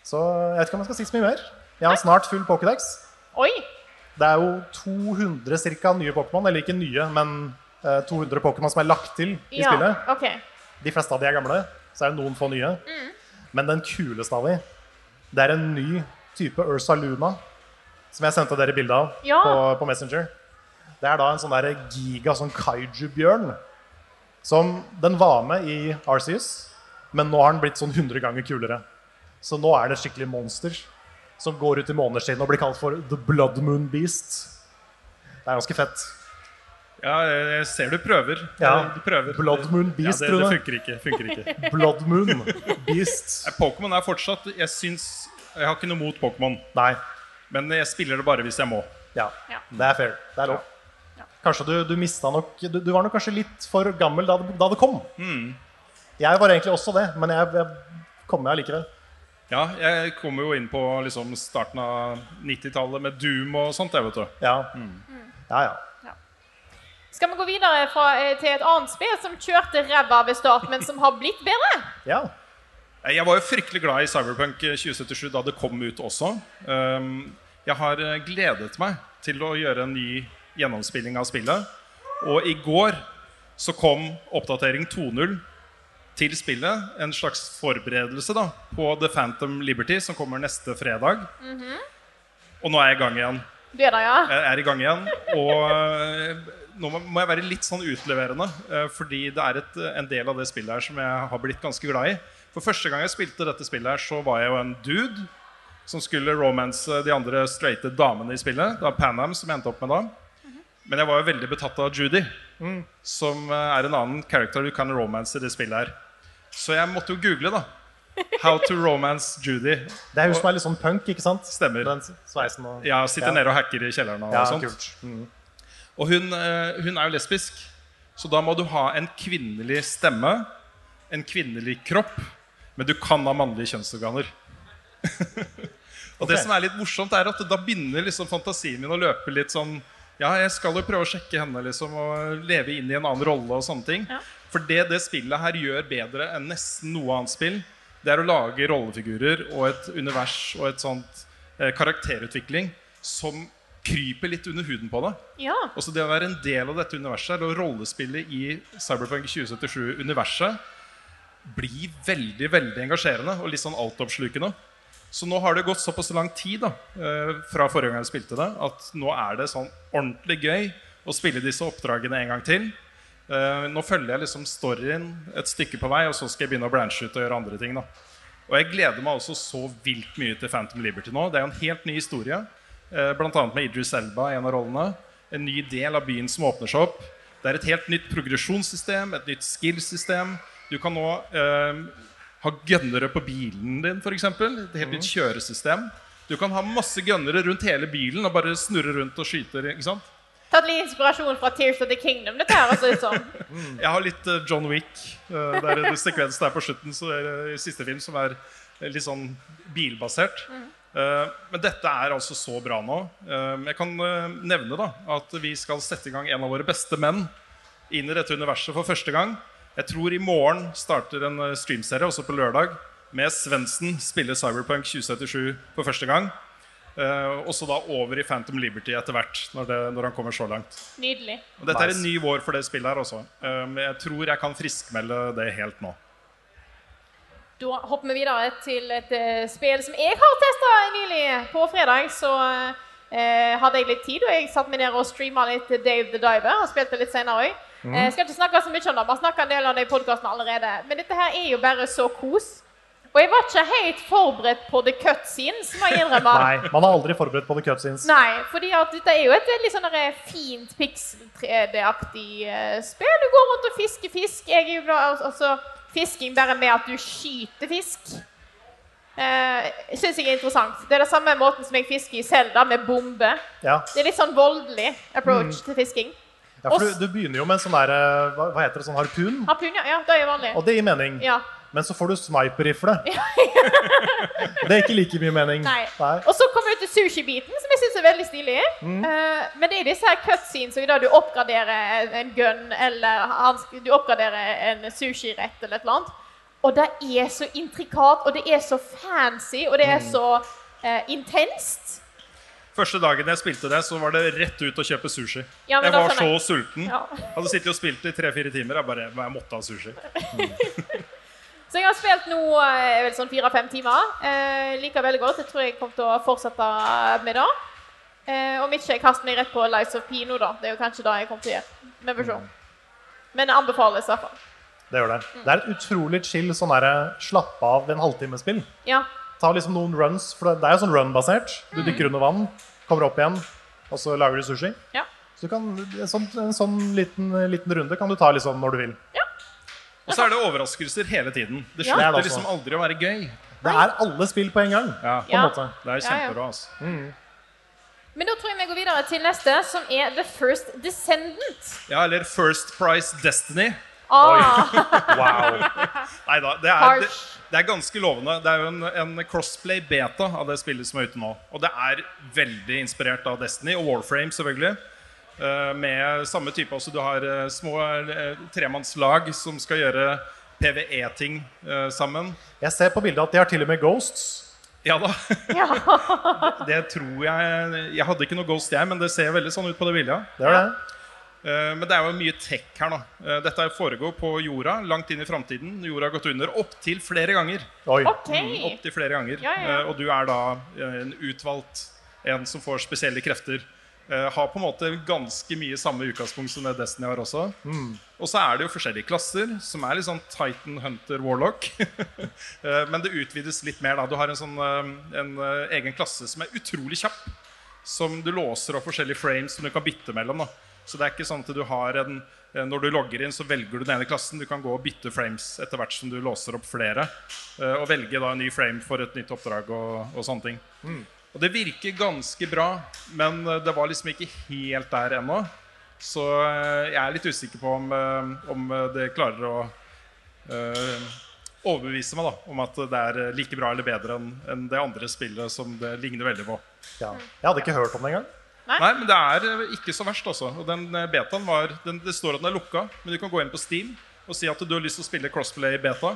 C: Så jeg vet ikke om jeg skal si så mye mer. Jeg har snart full Pokédex.
B: Oi!
C: Det er jo 200 cirka nye Pokémon, eller ikke nye, men eh, 200 Pokémon som er lagt til i
B: Ja,
C: spillet.
B: OK.
C: De fleste av de er gamle, så er det noen få nye. Men den kuleste av de, det er en ny type Ursa Luna, som jeg sendte dere bilde av
B: Ja.
C: på, på Messenger. Det er da en sånn der giga sånn kaiju-bjørn, som den var med i Arceus, men nå har den blitt sånn 100 ganger kulere. Så nå er det et skikkelig monster som går ut i måneskinn og blir kalt for The Blood Moon Beast. Det er ganske fett.
A: Ja, jeg ser du prøver.
C: Ja.
A: Du prøver.
C: Blood Moon Beast,
A: ja, det, det
C: Rune.
A: funker ikke. Funker ikke.
C: Blood Moon Beast.
A: Pokémon er fortsatt Jeg syns Jeg har ikke noe mot Pokémon,
C: Nei.
A: men jeg spiller det bare hvis jeg må.
C: Ja.
B: Ja.
C: Det er fair. Det er lov. Kanskje du, du mista nok du, du var nok kanskje litt for gammel da det, da det kom. Jeg var egentlig også det, men jeg, jeg kom med allikevel.
A: Ja, jeg kommer jo inn på liksom starten av 90-tallet med Doom og sånt. Jeg vet du.
C: Ja. Mm.
B: Mm.
C: ja, ja.
B: Skal vi gå videre fra, eh, til et annet spill som kjørte ræva ved start, men som har blitt bedre?
C: Ja.
A: Eh, Jeg var jo fryktelig glad i Cyberpunk 2077 da det kom ut også. Ehm, Jeg har eh, gledet meg til å gjøre en ny gjennomspilling av spillet. Og i går så kom oppdatering 2.0 til spillet. En slags forberedelse da på The Phantom Liberty, som kommer neste fredag. Og nå er jeg i gang igjen.
B: Du er der, ja?
A: Jeg er i gang igjen. Og eh, nå må- må jeg være litt sånn utleverende, eh, fordi det er et, en del av det spillet her som jeg har blitt ganske glad i. For første gang jeg spilte dette spillet her, så var jeg jo en dude som skulle romance de andre straighte damene i spillet. Det var Panam som jeg endte opp med da. Men jeg var jo veldig betatt av Judy, som eh, er en annen character du kan romance i det spillet her. Så jeg måtte jo google, da. How to romance Judy.
C: Det er hun som er litt sånn punk, ikke sant?
A: Stemmer.
C: Den sveisen og
A: Ja, sitter nede og hacker i kjelleren og
C: Ja,
A: sånt.
C: kult. Mm.
A: Og hun, eh, hun er jo lesbisk, så da må du ha en kvinnelig stemme, en kvinnelig kropp, men du kan ha mannlige kjønnsorganer. *laughs* og
C: Ok.
A: det som er litt morsomt, er at da begynner liksom fantasien min å løpe litt sånn Ja, jeg skal jo prøve å sjekke henne liksom, og leve inn i en annen rolle og sånne ting. For det det spillet her gjør bedre enn nesten noe annet spill, det er å lage rollefigurer og et univers og et sånt eh, karakterutvikling som kryper litt under huden på deg.
B: Ja.
A: Også det å være en del av dette universet eller å rollespille i Cyberpunk 2077-universet blir veldig veldig engasjerende og litt sånn altoppslukende. Så nå har det gått såpass lang tid da, eh, fra forrige gang jeg spilte det, at nå er det sånn ordentlig gøy å spille disse oppdragene en gang til. Eh, Nå følger jeg liksom storyen et stykke på vei, og så skal jeg begynne å branche ut og gjøre andre ting. da. Og jeg gleder meg også så vilt mye til Phantom Liberty nå. Det er jo en helt ny historie. eh, Blant annet med Idris Elba i en av rollene. En ny del av byen som åpner seg opp. Det er et helt nytt progresjonssystem, et nytt skill-system. Du kan nå eh, ha gønnere på bilen din, f.eks. Et helt nytt kjøresystem. Du kan ha masse gønnere rundt hele bilen og bare snurre rundt og skyte. ikke sant?
B: Tatt litt inspirasjon fra Tears of the Kingdom, dette her, altså. Liksom.
A: Jeg har litt eh, John Wick. eh, Det er en sekvens der på slutten så er det i siste film som er eh, litt sånn bilbasert. Eh, Men dette er altså så bra nå. Eh, Jeg kan eh, nevne da at vi skal sette i gang en av våre beste menn inn i dette universet for første gang. Jeg tror i morgen starter en eh, streamserie, også på lørdag, med Svendsen spille Cyberpunk 2077 for første gang. Eh, Også da over i Phantom Liberty etter hvert, når, det, når han kommer så langt.
B: Nydelig.
A: Og dette er en
C: Nice.
A: ny vår for det spillet her også. Eh, Men jeg tror jeg kan friskmelde det helt nå.
B: Da hopper vi videre til et eh, spill som jeg har testa nylig. På fredag så eh, hadde jeg litt tid, og jeg satte meg ned og streama litt Dave the Diver. Han spilte litt senere òg. Eh, skal ikke snakke så mye om det, man snakker en del om det i podkasten allerede. Men dette her er jo bare så kos. Og jeg var ikke helt forberedt på the cutscenes, må jeg innrømme.
C: Nei, man er aldri forberedt på the cutscenes.
B: Nei, fordi at dette er jo et veldig sånn der fint pixel-3D-aktig eh, spill. Du går rundt og fisker fisk. Jeg er jo glad al- altså, Fisking bare med at du skyter fisk. Uh, Syns jeg er interessant. Det er den samme måten som jeg fisker i Selda, med bombe.
C: Ja.
B: Det er litt sånn voldelig approach til fisking.
C: Ja, for du, du begynner jo med en sånn der, eh, hva, hva heter det, sånn harpun,
B: Harpun, ja. ja. Det er jo vanlig.
C: og det gir mening.
B: Ja.
C: Men så får du
B: *laughs*
C: sniper-rifle. det er ikke like mye mening.
B: Nei. Og så kommer du til sushi-biten, som jeg syns er veldig stilig. Eh, men det er disse her cutscenes der du oppgraderer en, en gun eller hansk- du oppgraderer en sushirett eller et eller annet. Og det er så intrikat, og det er så fancy, og det er så eh, intenst.
A: Første dagen jeg spilte det, så var det rett ut å kjøpe sushi.
B: Ja, men
A: jeg
B: da
A: var så
B: skjønner
A: sulten.
B: Ja.
A: Hadde sittet og spilt i tre-fire timer. Jeg bare jeg måtte ha sushi.
B: Så jeg har spilt nå eh, vel sånn fire-fem timer. Eh, liker veldig godt. Jeg tror jeg kommer til å fortsette med det. Eh, om ikke jeg kaster meg rett på Lies of Pino, da. Det er jo kanskje det jeg kommer til å gjøre. Men vi får se. Men det anbefales i hvert fall.
C: Det gjør det. Det er et utrolig chill sånn derre slapp av en halvtimespill.
B: Ja.
C: Ta liksom noen runs, for det det er jo sånn run-basert. Du
B: Mm.
C: dykker under vann, kommer opp igjen, og så lager du sushi.
B: Ja.
C: Så du kan, en sånn, en sånn liten, liten runde kan du ta liksom når du vil.
A: Og så er det overraskelser hele tiden. Det
C: Det er
A: slutter
C: det også.
A: liksom aldri å være gøy.
C: Det er alle spill på en gang.
A: Ja,
C: På en
B: Ja.
C: måte.
A: Det er
B: Ja, ja.
A: kjempebra. Altså.
B: Men da tror jeg vi går videre til neste, som er The First Descendant.
A: Ja, eller First Price Destiny.
B: Ah,
A: Wow. Nei da. Det er, det,
B: Harsh.
A: det er ganske lovende. Det er jo en, en crossplay beta av det spillet som er ute nå. Og det er veldig inspirert av Destiny og Warframe, selvfølgelig. Eh, med samme type også. Du har eh, små eh, tremannslag som skal gjøre PVE-ting eh, sammen.
C: Jeg ser på bildet at de har til og med ghosts.
A: Ja da. *laughs*
B: ja.
A: Det tror jeg Jeg hadde ikke noe Ghost, jeg, men det ser veldig sånn ut på det bildet.
C: Det gjør det.
A: Eh, Men det er jo mye tech her nå. Eh, Dette foregår på jorda langt inn i framtiden. Jorda har gått under opptil flere ganger.
C: Oi.
B: OK.
A: Opptil flere ganger.
B: Ja, ja, ja.
A: Eh, Og du er da eh, en utvalgt, en som får spesielle krefter. Eh, Har på en måte ganske mye samme utgangspunkt som det Destiny har også. Og så er det jo forskjellige klasser, som er litt sånn Titan, Hunter, Warlock. *laughs* Eh, Men det utvides litt mer, da. Du har en sånn eh, en eh, egen klasse som er utrolig kjapp. Som du låser opp forskjellige frames som du kan bytte mellom. da Så det er ikke sånn at du har en eh, når du logger inn, så velger du den ene klassen. Du kan gå og bytte frames etter hvert som du låser opp flere. eh, Og velge da en ny frame for et nytt oppdrag og, og sånne ting. Og det virker ganske bra, men eh, det var liksom ikke helt der ennå. Så eh, jeg er litt usikker på om, eh, om eh, det klarer å eh, overbevise meg da, om at det er eh, like bra eller bedre enn enn det andre spillet som det ligner veldig på.
C: Ja. Jeg hadde ikke hørt om det engang.
A: Nei, men det er eh, ikke så verst, altså. Og den eh, betaen var den, Det står at den er lukka, men du kan gå inn på Steam og si at du har lyst til å spille crossplay i beta.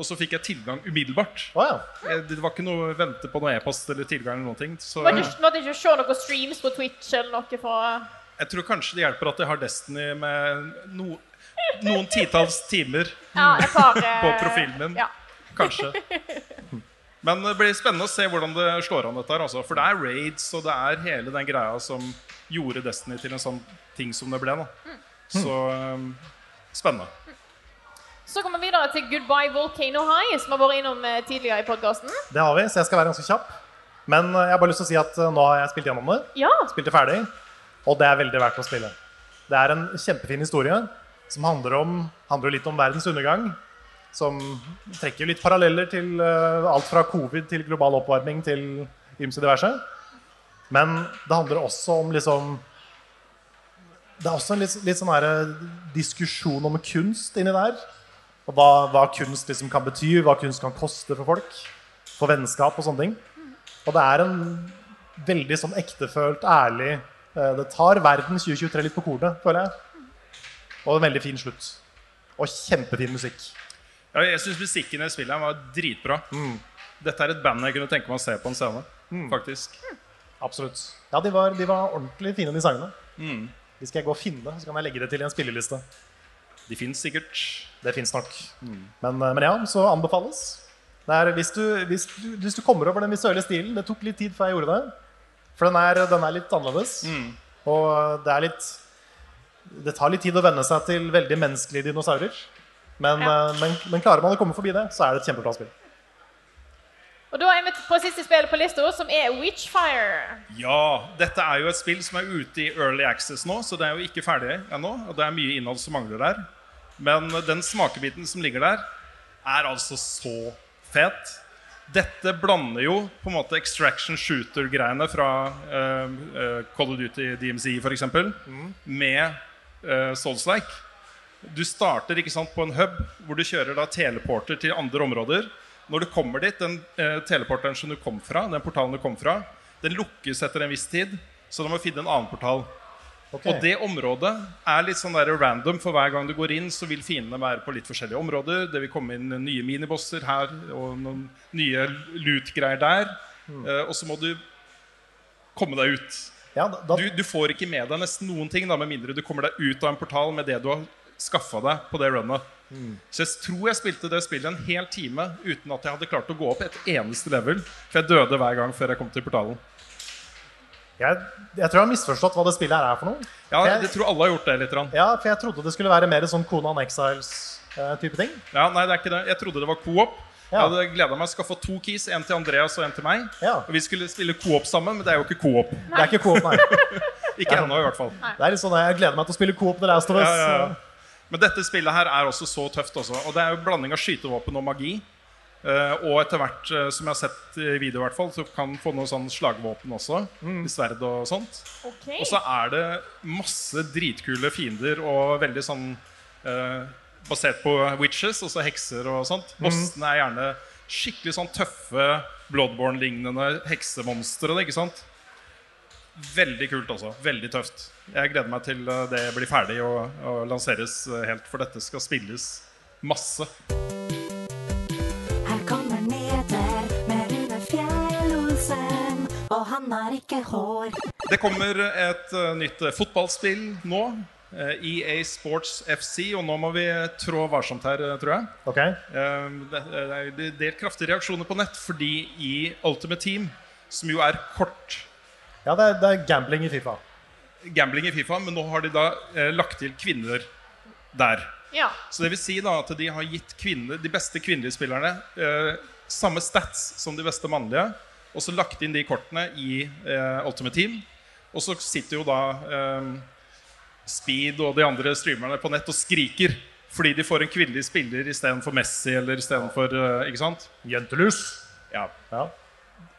A: Og så fikk jeg tilgang umiddelbart.
C: Å ja.
A: Eh, Det var ikke noe vente på noe e-post eller tilgang eller noen ting. Så
B: Måtte ikke, måtte ikke se noen streams på Twitch eller noe fra eh,
A: jeg tror kanskje det hjelper at jeg har Destiny med no, noen titalls timer.
B: ja, et par eh,
A: Mm. *laughs* På profilen min.
B: Ja.
A: Kanskje. Men det blir spennende å se hvordan det slår an dette her. Altså. For det er raids, og det er hele den greia som gjorde Destiny til en sånn ting som det ble. Da. Så um, spennende.
B: Så kommer vi videre til Goodbye Volcano High, som har vært innom eh, tidligere i podkasten.
C: Det har vi, så jeg skal være ganske kjapp. Men eh, jeg har bare lyst til å si at eh, nå har jeg spilt gjennom det.
B: Ja.
C: spilte ferdig, og det er veldig verdt å spille. Det er en kjempefin historie som handler, om, handler jo litt om verdens undergang. Som trekker jo litt paralleller til eh, alt fra covid til global oppvarming til ymse diverse. Men det handler også om liksom Det er også en litt, litt sånn her eh, diskusjon om kunst inni der. Og hva, hva kunst liksom kan bety, hva kunst kan koste for folk. For vennskap og sånne ting. Og det er en veldig sånn ektefølt, ærlig eh, Det tar verden 2023 litt på kornet, føler jeg. Og en veldig fin slutt. Og kjempefin musikk.
A: Ja, jeg syns musikken i spillet her var dritbra. Dette er et band jeg kunne tenke meg å se på en scene. Faktisk.
C: Absolutt. Ja, de var, de var ordentlig fine, de sangene. De skal jeg gå og finne, så kan jeg legge det til i en spilleliste.
A: De fins sikkert.
C: Det fins nok. Men, eh, men ja, så anbefales. Det er, hvis, du, hvis, du, hvis du kommer over den visuelle stilen Det tok litt tid før jeg gjorde det. For den er, den er litt annerledes.
A: Mm.
C: Og det er litt Det tar litt tid å venne seg til veldig menneskelige dinosaurer. Men,
B: Ja.
C: eh, men, men klarer man å komme forbi det, så er det et kjempebra spill.
B: Og da er vi på siste spillet på lista, som er Witchfire.
A: Ja, dette er jo et spill som er ute i early access nå, så det er jo ikke ferdig ennå. Og det er mye innhold som mangler der. Men den smakebiten som ligger der, er altså så fet. Dette blander jo på en måte extraction shooter-greiene fra eh, eh, Call of Duty DMC f.eks. eksempel med eh, Souls-like. Du starter ikke sant, på en hub hvor du kjører da teleporter til andre områder. Når du kommer dit, den eh, teleporteren som du kom fra, den portalen du kom fra, den lukkes etter en viss tid, så da må du finne en annen portal.
C: Ok.
A: Og det området er litt sånn der random, for hver gang du går inn, så vil fiendene være på litt forskjellige områder. Det vil komme inn nye minibosser her og noen nye loot-greier der. Eh, og så må du komme deg ut.
C: Ja, da, da,
A: Du, du får ikke med deg nesten noen ting, da, med mindre du kommer deg ut av en portal med det du har skaffa deg på det runnet.
C: Hmm.
A: Så jeg tror jeg spilte det spillet en hel time uten at jeg hadde klart å gå opp et eneste level. For jeg døde hver gang før jeg kom til portalen.
C: jeg, jeg tror jeg har misforstått hva det spillet her er for noe.
A: Ja,
C: Jeg-
A: jeg tror alle har gjort det litt. Rann.
C: Ja, for jeg trodde det skulle være mer sånn Konan Exiles-type ting.
A: Ja, nei, det er ikke det. Jeg trodde det var co-op. Jeg
C: Ja.
A: hadde gleda meg til å skaffe to keys, en til Andreas og en til meg.
C: Ja.
A: Og vi skulle spille co-op sammen, men det er jo ikke co-op.
C: Det er ikke Coop, nei. Det
A: Ikke ennå, i hvert fall.
C: er litt sånn, Jeg gleder meg til å spille Coop The Last of Us.
A: Ja, ja, ja. Men dette spillet her er også så tøft også. Og det er jo blanding av skytevåpen og magi. Eh, og etter hvert, eh, som jeg har sett i video, i hvert fall, så kan man få noe sånn slagvåpen også. i Sverd og sånt.
B: Ok.
A: Og så er det masse dritkule fiender og veldig sånn eh, Basert på witches, altså hekser og sånt. Bossene er gjerne skikkelig sånn tøffe Bloodborne-lignende heksemonstre. ikke sant? Veldig kult også. Veldig tøft. Jeg gleder meg til eh, det blir ferdig og, og lanseres eh, helt, for dette skal spilles masse.
I: Her kommer Neder med Rune Fjellosen, og han har ikke hår.
A: Det kommer et eh, nytt eh, fotballspill nå. eh, EA Sports FC, og nå må vi trå varsomt her, eh, tror jeg.
C: Ok,
A: Eh, Det det er jo en del kraftige reaksjoner på nett, fordi i Ultimate Team, som jo er kort
C: ja det, er, det er gambling i Fifa.
A: gambling i Fifa, men nå har de da eh, lagt til kvinner der.
B: Ja.
A: Så det vil si da at de har gitt kvinner, de beste kvinnelige spillerne eh, samme stats som de beste mannlige, og så lagt inn de kortene i eh, Ultimate Team. Og så sitter jo da eh, Speed og de andre streamerne på nett og skriker fordi de får en kvinnelig spiller istedenfor Messi eller istedenfor eh, Ikke sant?
C: Jentelus.
A: Ja.
C: Ja.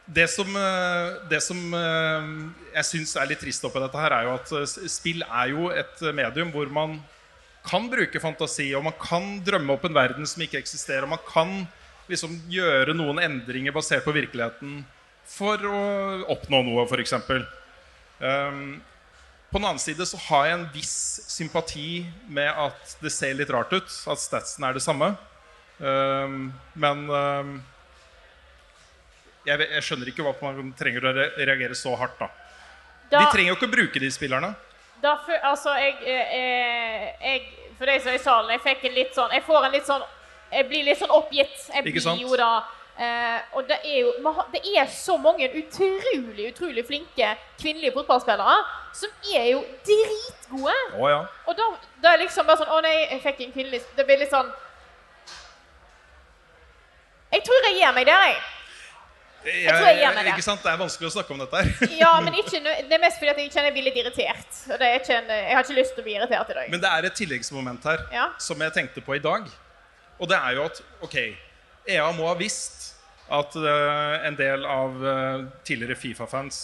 A: Det som, eh, det som eh, jeg syns er litt trist oppi dette her, er jo at eh, s- spill er jo et eh, medium hvor man kan bruke fantasi, og man kan drømme opp en verden som ikke eksisterer, og man kan liksom gjøre noen endringer basert på virkeligheten for å oppnå noe, f.eks. Um, på den annen side så har jeg en viss sympati med at det ser litt rart ut, at statsen er det samme. Um, men um, jeg, jeg skjønner ikke hva man trenger å re- reagere så hardt da.
B: Da,
A: De trenger jo ikke å bruke de spillerne.
B: da fø- altså, jeg, eh, eh, jeg For deg som er i salen, jeg fikk en litt sånn Jeg får en litt sånn Jeg blir litt sånn oppgitt. Jeg
A: Ikke
B: blir
A: sant?
B: jo da eh, og det er jo man har- det er så mange utrolig utrolig flinke kvinnelige fotballspillere som er jo dritgode.
A: Å ja.
B: Og da, da er liksom bare sånn Å nei, jeg fikk en kvinnelig Det blir litt sånn Jeg tror jeg gir meg der, jeg.
A: Jeg,
B: tror jeg gir meg det.
A: Ikke sant? Det er vanskelig å snakke om
B: *laughs*
A: dette her.
B: Ja, men ikke, nø- det er mest fordi at jeg kjenner jeg blir litt irritert. Og det er ikke en, jeg har ikke lyst til å bli irritert i dag.
A: Men det er et tilleggsmoment her
B: Ja.
A: som jeg tenkte på i dag. Og det er jo at ok, EA må ha visst at eh, en del av eh, tidligere Fifa-fans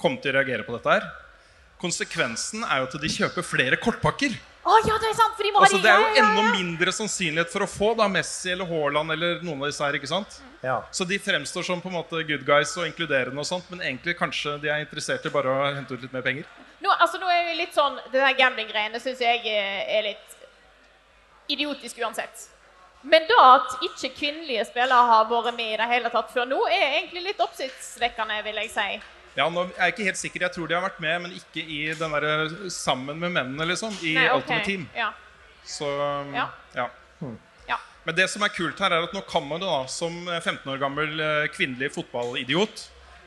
A: kom til å reagere på dette her. Konsekvensen er jo at de kjøper flere kortpakker.
B: Å ja, det er sant, for de må ha
A: Altså,
B: de
A: det er jo
B: ja, ja,
A: enda
B: ja.
A: mindre sannsynlighet for å få da Messi eller Haaland eller noen av disse her. ikke sant?
C: Ja.
A: Så de fremstår som på en måte good guys og inkluderende, og sånt, men egentlig kanskje de er interessert i bare å hente ut litt mer penger.
B: Nå, altså, nå er vi litt sånn Det der gambling-greiene syns jeg eh, er litt idiotisk uansett. Men da at ikke kvinnelige spillere har vært med i det hele tatt før nå, er egentlig litt oppsiktsvekkende, vil jeg si.
A: Ja, nå er Jeg ikke helt sikker, jeg tror de har vært med, men ikke i den der sammen med mennene, liksom. I
B: Nei, ok.
A: Ultimate Team.
B: Ja.
A: Så um,
B: Ja.
A: ja.
B: Ja.
A: Men det som er kult her, er at nå kan man da, som 15 år gammel eh, kvinnelig fotballidiot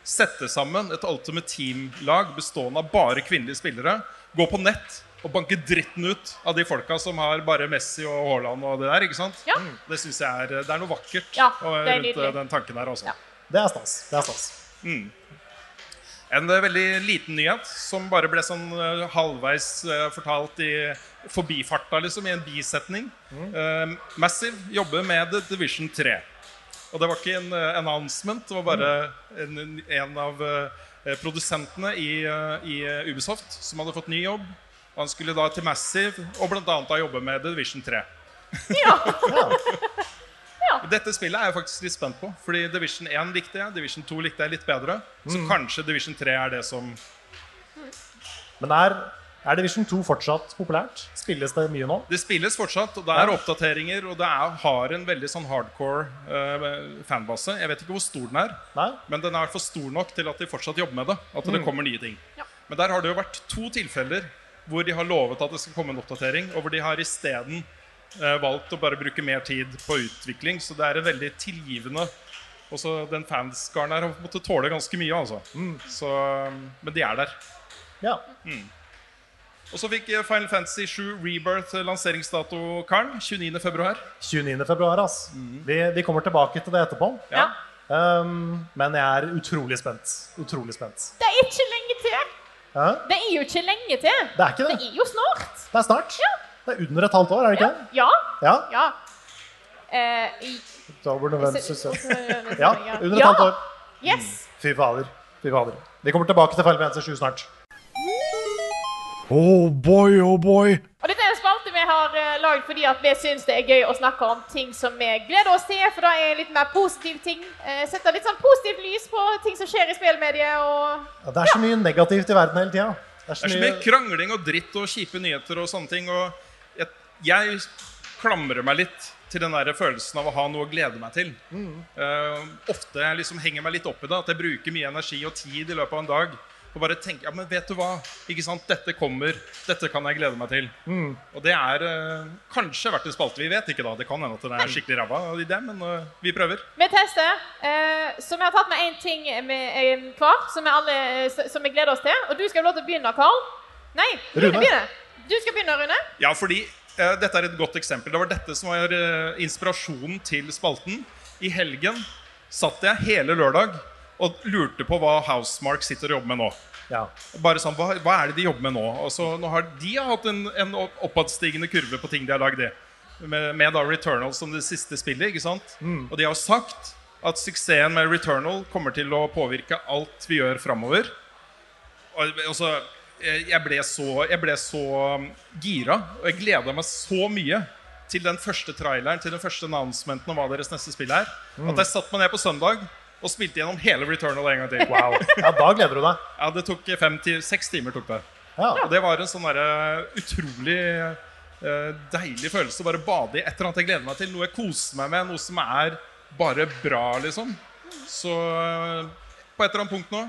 A: sette sammen et Ultimate Team-lag bestående av bare kvinnelige spillere, gå på nett og banke dritten ut av de folka som har bare Messi og Haaland og det der. ikke sant? Hmm.
B: Ja.
A: Det synes jeg er, eh, det er noe vakkert
B: Ja, det er
A: og, rundt eh,
B: nydelig.
A: den tanken her også.
B: Ja.
C: Det er stas. Det er stas.
A: En eh, veldig liten nyhet som bare ble sånn eh, halvveis eh, fortalt i forbifarta, liksom, i en bisetning. Eh, Massive jobber med The Division 3. Og det var ikke en eh, announcement, det var bare en, en, en av eh, produsentene i, eh, i eh, Ubisoft som hadde fått ny jobb. Han skulle da til Massive og bl.a. jobbe med The Division 3.
B: Ja.
A: Dette spillet er jeg faktisk litt spent på. Fordi Division 1 likte jeg, Division 2 likte jeg litt bedre. Så kanskje Division 3 er det som
C: Men er, er Division 2 fortsatt populært? Spilles det mye nå?
A: Det spilles fortsatt, og det er oppdateringer, og det er, har en veldig sånn hardcore eh, fanbase. Jeg vet ikke hvor stor den er,
C: Nei?
A: men den er i hvert fall stor nok til at de fortsatt jobber med det. At det kommer nye ting.
B: Ja.
A: Men der har det jo vært to tilfeller hvor de har lovet at det skal komme en oppdatering, og hvor de har isteden eh, valgt å bare bruke mer tid på utvikling. Så det er en veldig tilgivende Også den fanskaren her har måttet tåle ganske mye, altså. Så, eh, men de er der.
C: Ja.
A: Og så fikk eh, Final Fantasy 7 Rebirth eh, lanseringsdato, Karen. 29. februar.
C: 29. februar, ass. Vi, vi kommer tilbake til det etterpå.
B: ja.
C: Um, men jeg er utrolig spent. Utrolig spent.
B: Det er ikke lenge til.
C: Hæ?
B: Det er jo ikke lenge til.
C: Det er ikke
B: Det
C: det.
B: er jo snart.
C: Det er snart. Det er under et halvt år, er det ikke det?
B: Ja.
C: Ja.
B: Ja. Eh, i-
C: Oktober, november, september. Ja,
B: ja.
C: under et halvt år.
B: Yes.
C: Fy fader. Fy fader. Vi kommer tilbake til Final Fantasy 7 snart.
J: Oh boy, oh boy.
B: Og dette er en spalte vi har eh, lagd fordi at vi syns det er gøy å snakke om ting som vi gleder oss til, for da er det litt mer positive ting. Eh, Setter litt sånn positivt lys på ting som skjer i spillmediet og
C: Ja, Det er så mye negativt i verden hele tida. Det er
A: Det er så mye krangling og dritt og kjipe nyheter og sånne ting. Og jeg, jeg klamrer meg litt til den der følelsen av å ha noe å glede meg til. Eh, ofte jeg liksom henger meg litt opp i det, at jeg bruker mye energi og tid i løpet av en dag. Og bare tenker, ja, men vet du hva? Ikke sant? Dette kommer. Dette kan jeg glede meg til. Og det er eh, kanskje verdt en spalte. Vi vet ikke, da. Det kan hende at den er skikkelig ræva idé, men eh, vi prøver.
B: Vi tester. eh, Så vi har tatt med én ting med, eh, hver som vi, alle, eh, som vi gleder oss til. Og du skal få lov til å begynne, Karl. Nei, Rune.
C: Rune.
B: begynner. Du skal begynne, Rune.
A: Ja, fordi eh, dette er et godt eksempel. Det var dette som var eh, inspirasjonen til spalten. I helgen satt jeg hele lørdag og lurte på hva Housemark sitter og jobber med nå.
C: Ja.
A: Bare sånn, hva, hva er det de jobber med nå? Og så nå har De har hatt en, en opp- oppadstigende kurve på ting de har lagd. det. Med, med da Returnal som det siste spillet. ikke sant? Og de har sagt at suksessen med Returnal kommer til å påvirke alt vi gjør framover. Og, og så, eh, jeg, ble så, jeg ble så um, gira, og jeg gleda meg så mye til den første traileren, til den første announcementen om hva deres neste spill er, at jeg satte meg ned på søndag og spilte gjennom hele Returnal en gang til.
C: Wow. Ja, da gleder du deg.
A: Ja, det tok fem til seks timer. tok det.
C: Ja.
A: Og det var en sånn derre utrolig eh, deilig følelse å bare bade i et eller annet jeg gleder meg til. Noe jeg koser meg med, noe som er bare bra, liksom. Så eh, på et eller annet punkt nå,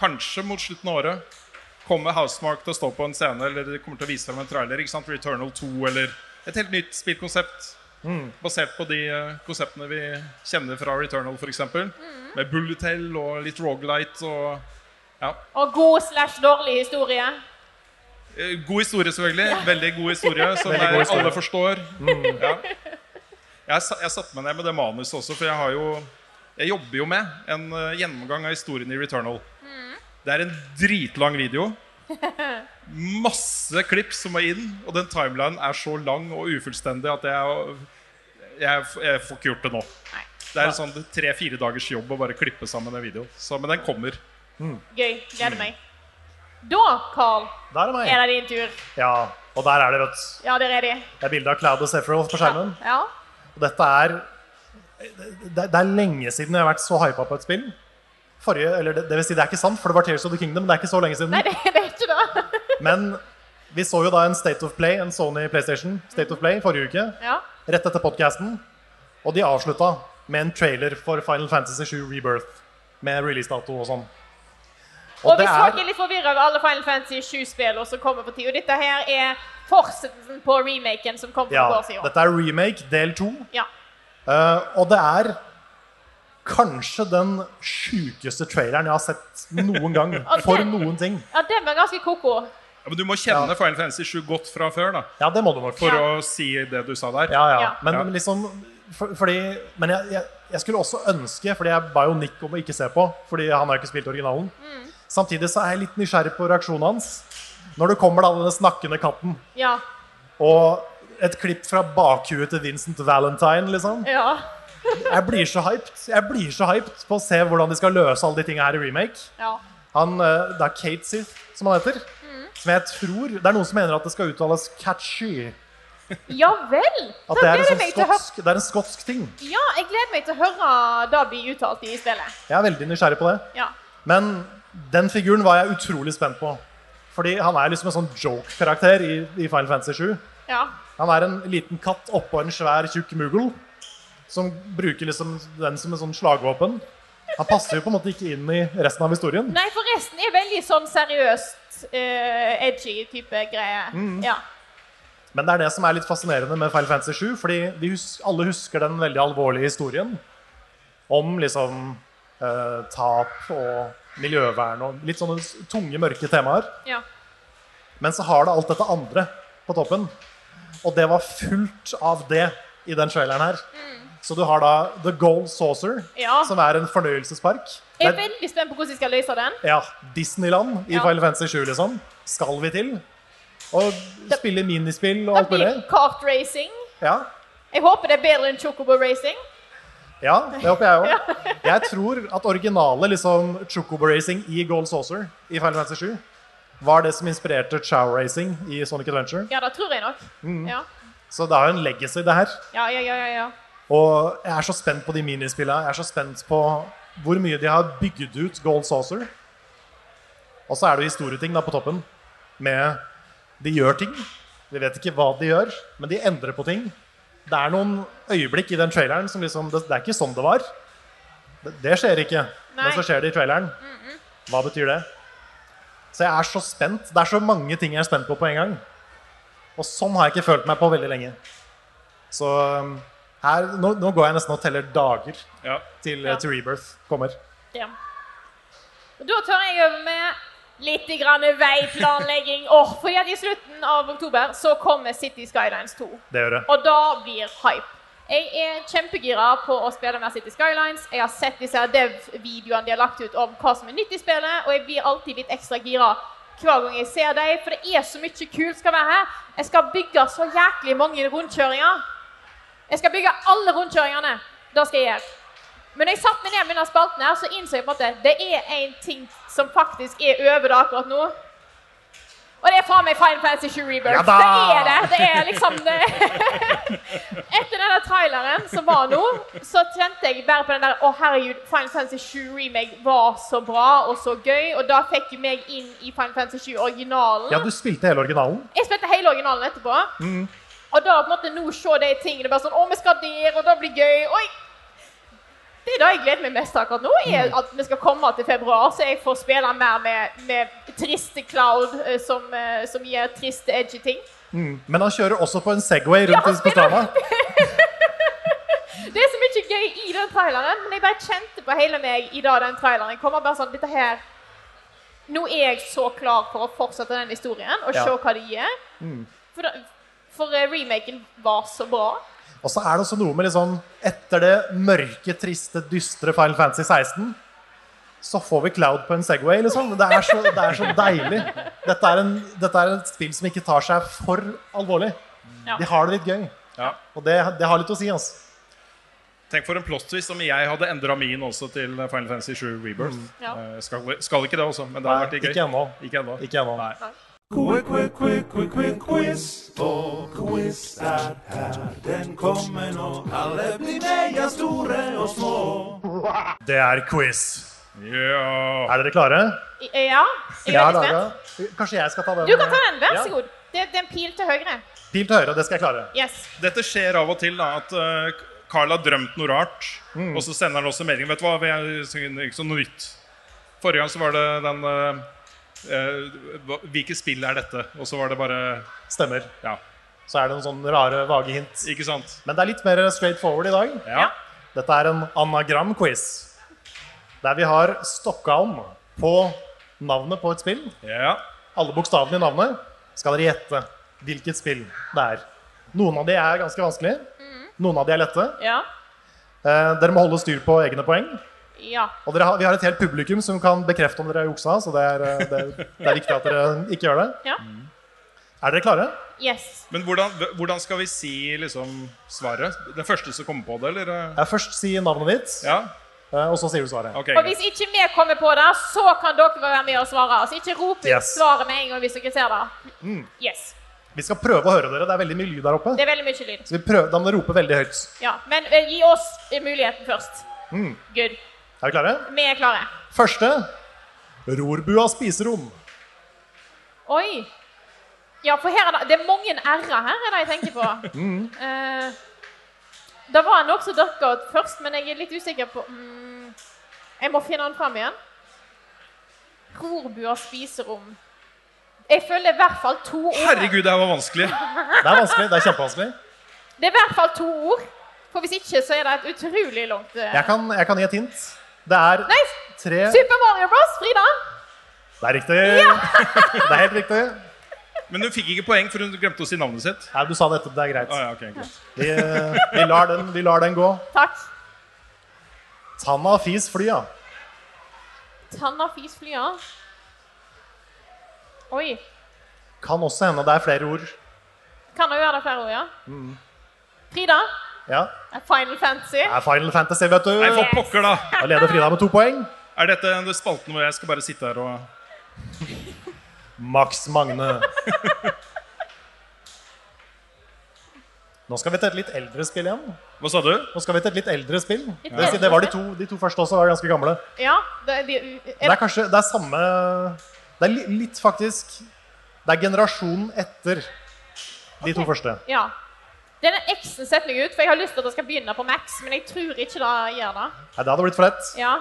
A: kanskje mot slutten av året, kommer Housemark til å stå på en scene, eller de kommer til å vise frem en trailer. ikke sant? Returnal 2 eller et helt nytt spillkonsept. Basert på de eh, konseptene vi kjenner fra Returnal, f.eks. Med Bullet Hell og litt Rogalight og ja,
B: Og god slash dårlig historie.
A: Eh, God historie, selvfølgelig. Veldig god
C: *laughs*
A: historie, som
C: Veldig god
A: er-
C: historie. Mm.
A: alle forstår. Ja. Jeg, sa- jeg satte meg ned med det manuset også, for jeg, har jo, jeg jobber jo med en eh, gjennomgang av historien i Returnal.
C: Mm.
A: Det er en dritlang
C: *laughs*
A: video. Masse klipp som må inn, og den timelinen er så lang og ufullstendig at jeg, jeg, f- jeg får ikke gjort det nå. Det er en sånn tre-fire dagers jobb å bare klippe sammen en video. Så, men den kommer.
B: Gøy. Gleder meg. Da, Carl,
C: Der er meg.
B: er det din tur.
C: Ja. Og der er det, vet du.
B: Ja, der er de.
C: Det er bilde av Cloud og Sephiroth på skjermen.
B: Ja.
C: Og dette er det, det er lenge siden jeg har vært så hypa på et spill. Forrige, eller det, det vil si, det er ikke sant, for det var Tears of the Kingdom. men Det er ikke så lenge siden.
B: Nei, det, det er ikke det.
C: Men vi så jo da en State of Play, en Sony PlayStation State of Play forrige uke,
B: Ja.
C: rett etter podcasten. Og de avslutta med en trailer for Final Fantasy 7 Rebirth. Med releasedato og sånn.
B: Og
C: Og det
B: hvis folk
C: er
B: er litt forvirra over alle Final Fantasy 7-spillene som kommer på tid, og dette her er fortsettelsen på remaken som kom for
C: Ja,
B: noen år siden.
C: dette er remake del to.
B: Ja.
C: Eh, og det er kanskje den sjukeste traileren jeg har sett noen
B: *laughs*
C: gang. For noen ting.
B: ja, den var ganske ko-ko.
A: Ja, men du må kjenne Final Fantasy 7 godt fra før da,
C: Ja, det må du nok.
A: for
B: Ja.
A: å si det du sa der.
C: Ja, ja.
B: Ja.
C: Men
A: Ja.
C: men liksom for, fordi, Men jeg, jeg, jeg skulle også ønske, fordi jeg ba jo Nick om å ikke se på, fordi han har jo ikke spilt originalen. Samtidig så er jeg litt nysgjerrig på reaksjonen hans når det kommer da denne snakkende katten
B: Ja.
C: og et klipp fra bakhuet til Vincent Valentine, liksom.
B: ja.
C: Jeg blir så hyped. Jeg blir så hyped på å se hvordan de skal løse alle de tinga her i remake.
B: ja.
C: Han, eh, det er Kate Sith, som han heter. Som jeg tror Det er noen som mener at det skal uttales catchy.
B: Ja vel! Da
C: At det er,
B: gleder
C: en
B: jeg
C: sånn
B: meg til å høre
C: skotsk, det er en skotsk ting.
B: Ja, jeg gleder meg til å høre det bli uttalt i spillet.
C: Jeg er veldig nysgjerrig på det.
B: Ja.
C: Men den figuren var jeg utrolig spent på. Fordi han er liksom en sånn joke-karakter i, i Final Fantasy 7.
B: ja.
C: Han er en liten katt oppå en svær, tjukk mugel som bruker liksom den som en sånn slagvåpen. Han passer jo på en måte ikke inn i resten av historien.
B: Nei, forresten er veldig sånn seriøst eh, edgy type greie.
C: Mm.
B: Ja.
C: Men det er det som er litt fascinerende med Final Fantasy 7, fordi vi hus alle husker den veldig alvorlige historien om liksom eh, tap og miljøvern og litt sånne s- tunge, mørke temaer.
B: ja.
C: Men så har det alt dette andre på toppen. Og det var fullt av det i den traileren her. Så du har da The Gold Saucer,
B: Mm. Ja.
C: som er en fornøyelsespark.
B: Jeg er
C: Det er-
B: veldig spent på hvordan de skal løse den.
C: ja, Disneyland i
B: Ja.
C: Final Fantasy 7, liksom. Skal vi til? Og spille minispill og
B: Det
C: alt mulig.
B: blir kartracing.
C: Ja.
B: Jeg håper det er bedre enn Chocobo Racing.
C: Ja, det håper
B: *laughs*
C: jeg òg. Jeg tror at originale liksom, Chocobo Racing i Gold Saucer i Final Fantasy 7 var det som inspirerte Chow Racing i Sonic Adventure.
B: Ja, det tror jeg nok.
C: Mm.
B: Ja.
C: Så det er jo en legacy, det her.
B: Ja, ja, ja, ja, ja.
C: Og jeg er så spent på de minispillene. Jeg er så spent på hvor mye de har bygd ut Gold Saucer. Og så er det jo historieting da på toppen. Med De gjør ting. Vi vet ikke hva de gjør, men de endrer på ting. Det er noen øyeblikk i den traileren som liksom Det, det er ikke sånn det var. Det, det skjer ikke.
B: Nei. Mhm.
C: Men så skjer det i traileren. Hva betyr det? Så jeg er så spent. Det er så mange ting jeg er spent på på en gang. Og sånn har jeg ikke følt meg på veldig lenge. Så um, her, nå, nå går jeg nesten og teller dager
A: Ja.
C: til, eh,
B: Ja.
C: til Rebirth kommer.
B: Ja. Og Da tar jeg over med litt grann veiplanlegging. Åh, fordi at I slutten av oktober så kommer City Skylines 2.
C: Det gjør det.
B: Og da blir hype. Jeg er kjempegira på å spille mer City Skylines. Jeg har sett disse her dev-videoene de har lagt ut om hva som er nytt i spillet, og jeg blir alltid litt ekstra gira hver gang jeg ser dem, for det er så mye kult skal være her. Jeg skal bygge så jæklig mange rundkjøringer. Jeg skal bygge alle rundkjøringene. Det skal jeg gjøre. Men når jeg satte meg ned med denne spalten her, så innså jeg på en måte det er en ting som faktisk er over det akkurat nå. Og det er faen meg Final Fantasy 7 Rebirth.
C: Ja da!
B: det er det. Det er liksom det. Etter denne traileren som var nå, så kjente jeg bare på den der Å, herregud, Final Fantasy 7 Remake var så bra og så gøy, og da fikk jo meg inn i Final Fantasy 7 originalen.
C: Ja, du Mm. spilte hele originalen.
B: Jeg spilte hele originalen etterpå. Og da på en måte nå se de tingene bare sånn Å, vi skal der, og det blir gøy. Oi! Det er det jeg gleder meg mest til akkurat nå, er
C: Mm.
B: at vi skal komme til februar, så jeg får spille mer med, med triste Cloud, eh, som, eh, som gjør triste, edgy ting.
C: Men han kjører også på en Segway rundt
B: han
C: i- på stranda.
B: Det er så mye gøy i den traileren, men jeg bare kjente på hele meg i dag den traileren. Jeg kommer bare sånn, dette her Nå er jeg så klar for å fortsette den historien og
C: Ja. Mm.
B: se hva de gjør. For, da- for eh, remaken var så bra.
C: Og så er det også noe med liksom Etter det mørke, triste, dystre Final Fantasy 16, så får vi Cloud på en Segway, liksom. Det er så, det er så deilig. Dette er, en, dette er et spill som ikke tar seg for alvorlig.
B: Ja.
C: De har det litt gøy.
A: Ja.
C: Og det, det har litt å si, altså.
A: Tenk for en plot twist om jeg hadde endra min også til Final Fantasy 7 Rebirth.
B: Ja.
A: Eh, skal, skal ikke det også, men det
C: Mm. Nei,
A: hadde vært litt
C: ikke
A: gøy.
C: ennå.
A: Ikke ennå.
C: Ikke ennå.
A: Nei.
C: Det er quiz.
A: Ja.
C: Er dere klare?
B: I- eh, Ja, jeg er veldig spent.
C: dere. Kanskje jeg skal ta den?
B: Du kan ta den, vær
C: Ja.
B: så god. Det, det er en pil til høyre.
C: Pil til høyre. Det skal jeg klare.
B: Yes.
A: Dette skjer av og til, da, at eh, Carl har drømt noe rart,
C: Mm.
A: og så sender han også melding. Vet du hva, vi er så- ikke så noe nytt. Forrige gang så var det den eh, eh, hva- Hvilket spill er dette? Og så var det bare
C: Stemmer.
A: Ja,
C: Så er det noen sånne rare, vage hint.
A: ikke sant?
C: Men det er litt mer straight forward i dag.
A: Ja.
C: Dette er en anagram-quiz. Der vi har Stockholm på navnet på et spill.
A: ja.
C: Alle bokstavene i navnet skal dere gjette hvilket spill det er. Noen av de er ganske vanskelige. Noen av de er lette.
B: Ja.
C: Eh, dere må holde styr på egne poeng.
B: Ja.
C: Og dere har, vi har et helt publikum som kan bekrefte om dere har juksa, så det er, eh, det, det er viktig at dere ikke gjør det.
B: Ja.
C: Mm. Er dere klare?
B: Yes.
A: Men hvordan, hvordan skal vi si liksom svaret? Den første som kommer på det, eller? eh?
C: Jeg først si navnet ditt,
A: Ja.
C: Eh, Og så sier du svaret.
A: Ok,
B: Og
A: greit.
B: hvis ikke vi kommer på det, så kan dere være med og svare. Altså ikke rop ut
C: Yes. Mm.
B: svaret med en gang hvis dere ser det. Yes.
C: Vi skal prøve å høre dere. Det er veldig mye lyd der oppe.
B: Det er veldig mye lyd.
C: Så vi prøver, da må dere rope veldig høyt.
B: Ja. Men eh, gi oss eh, muligheten først. Good.
C: Er vi klare?
B: Vi er klare.
C: Første rorbua spiserom.
B: Oi. Ja, for her er det, det er mange r-er her, er det jeg tenker på. Eh, det var en også duckout først, men jeg er litt usikker på mm, Jeg må finne den fram igjen. Rorbua spiserom. Jeg føler i hvert fall to ord. her.
A: Herregud, det her var vanskelig.
C: Det er vanskelig. det er kjempevanskelig.
B: Det er i hvert fall to ord. For hvis ikke, så er det et utrolig langt eh,
C: Jeg kan, jeg kan gi et hint. Det er
B: Nei,
C: tre
B: Super Mario Bros. Frida.
C: Det er riktig. *laughs* Det er helt riktig.
A: Men hun fikk ikke poeng, for hun glemte å si navnet sitt.
C: Nei, du sa det etterpå. Det er greit.
A: Ah, ja, ok, greit.
C: Vi, eh, vi, lar den, vi lar den gå.
B: Takk.
C: Tanna fis flya.
B: Tanna fis flya. Oi.
C: Kan også hende det er flere ord.
B: Kan det jo være det flere ord, ja? Frida.
C: Ja.
B: Final Fantasy.
C: Det er Final Fantasy, vet
A: Nei,
C: du.
A: for pokker, da!
C: Da leder Frida med to poeng.
A: Er dette den spalten hvor jeg skal bare sitte her og
C: Max Magne. Nå skal vi til et litt eldre spill igjen.
A: Hva sa du?
C: Nå skal vi til et litt eldre spill.
B: Litt
C: Det, det var de to, de to første også var ganske gamle.
B: Ja, det, de,
C: Det
B: er,
C: er kanskje det er samme Det er li- litt faktisk Det er generasjonen etter de to første.
B: ja. Denne X-en setter meg ut, for jeg har lyst til at det skal begynne på Max, men jeg tror ikke det gjør det.
C: Nei, det hadde blitt for lett.
B: Ja.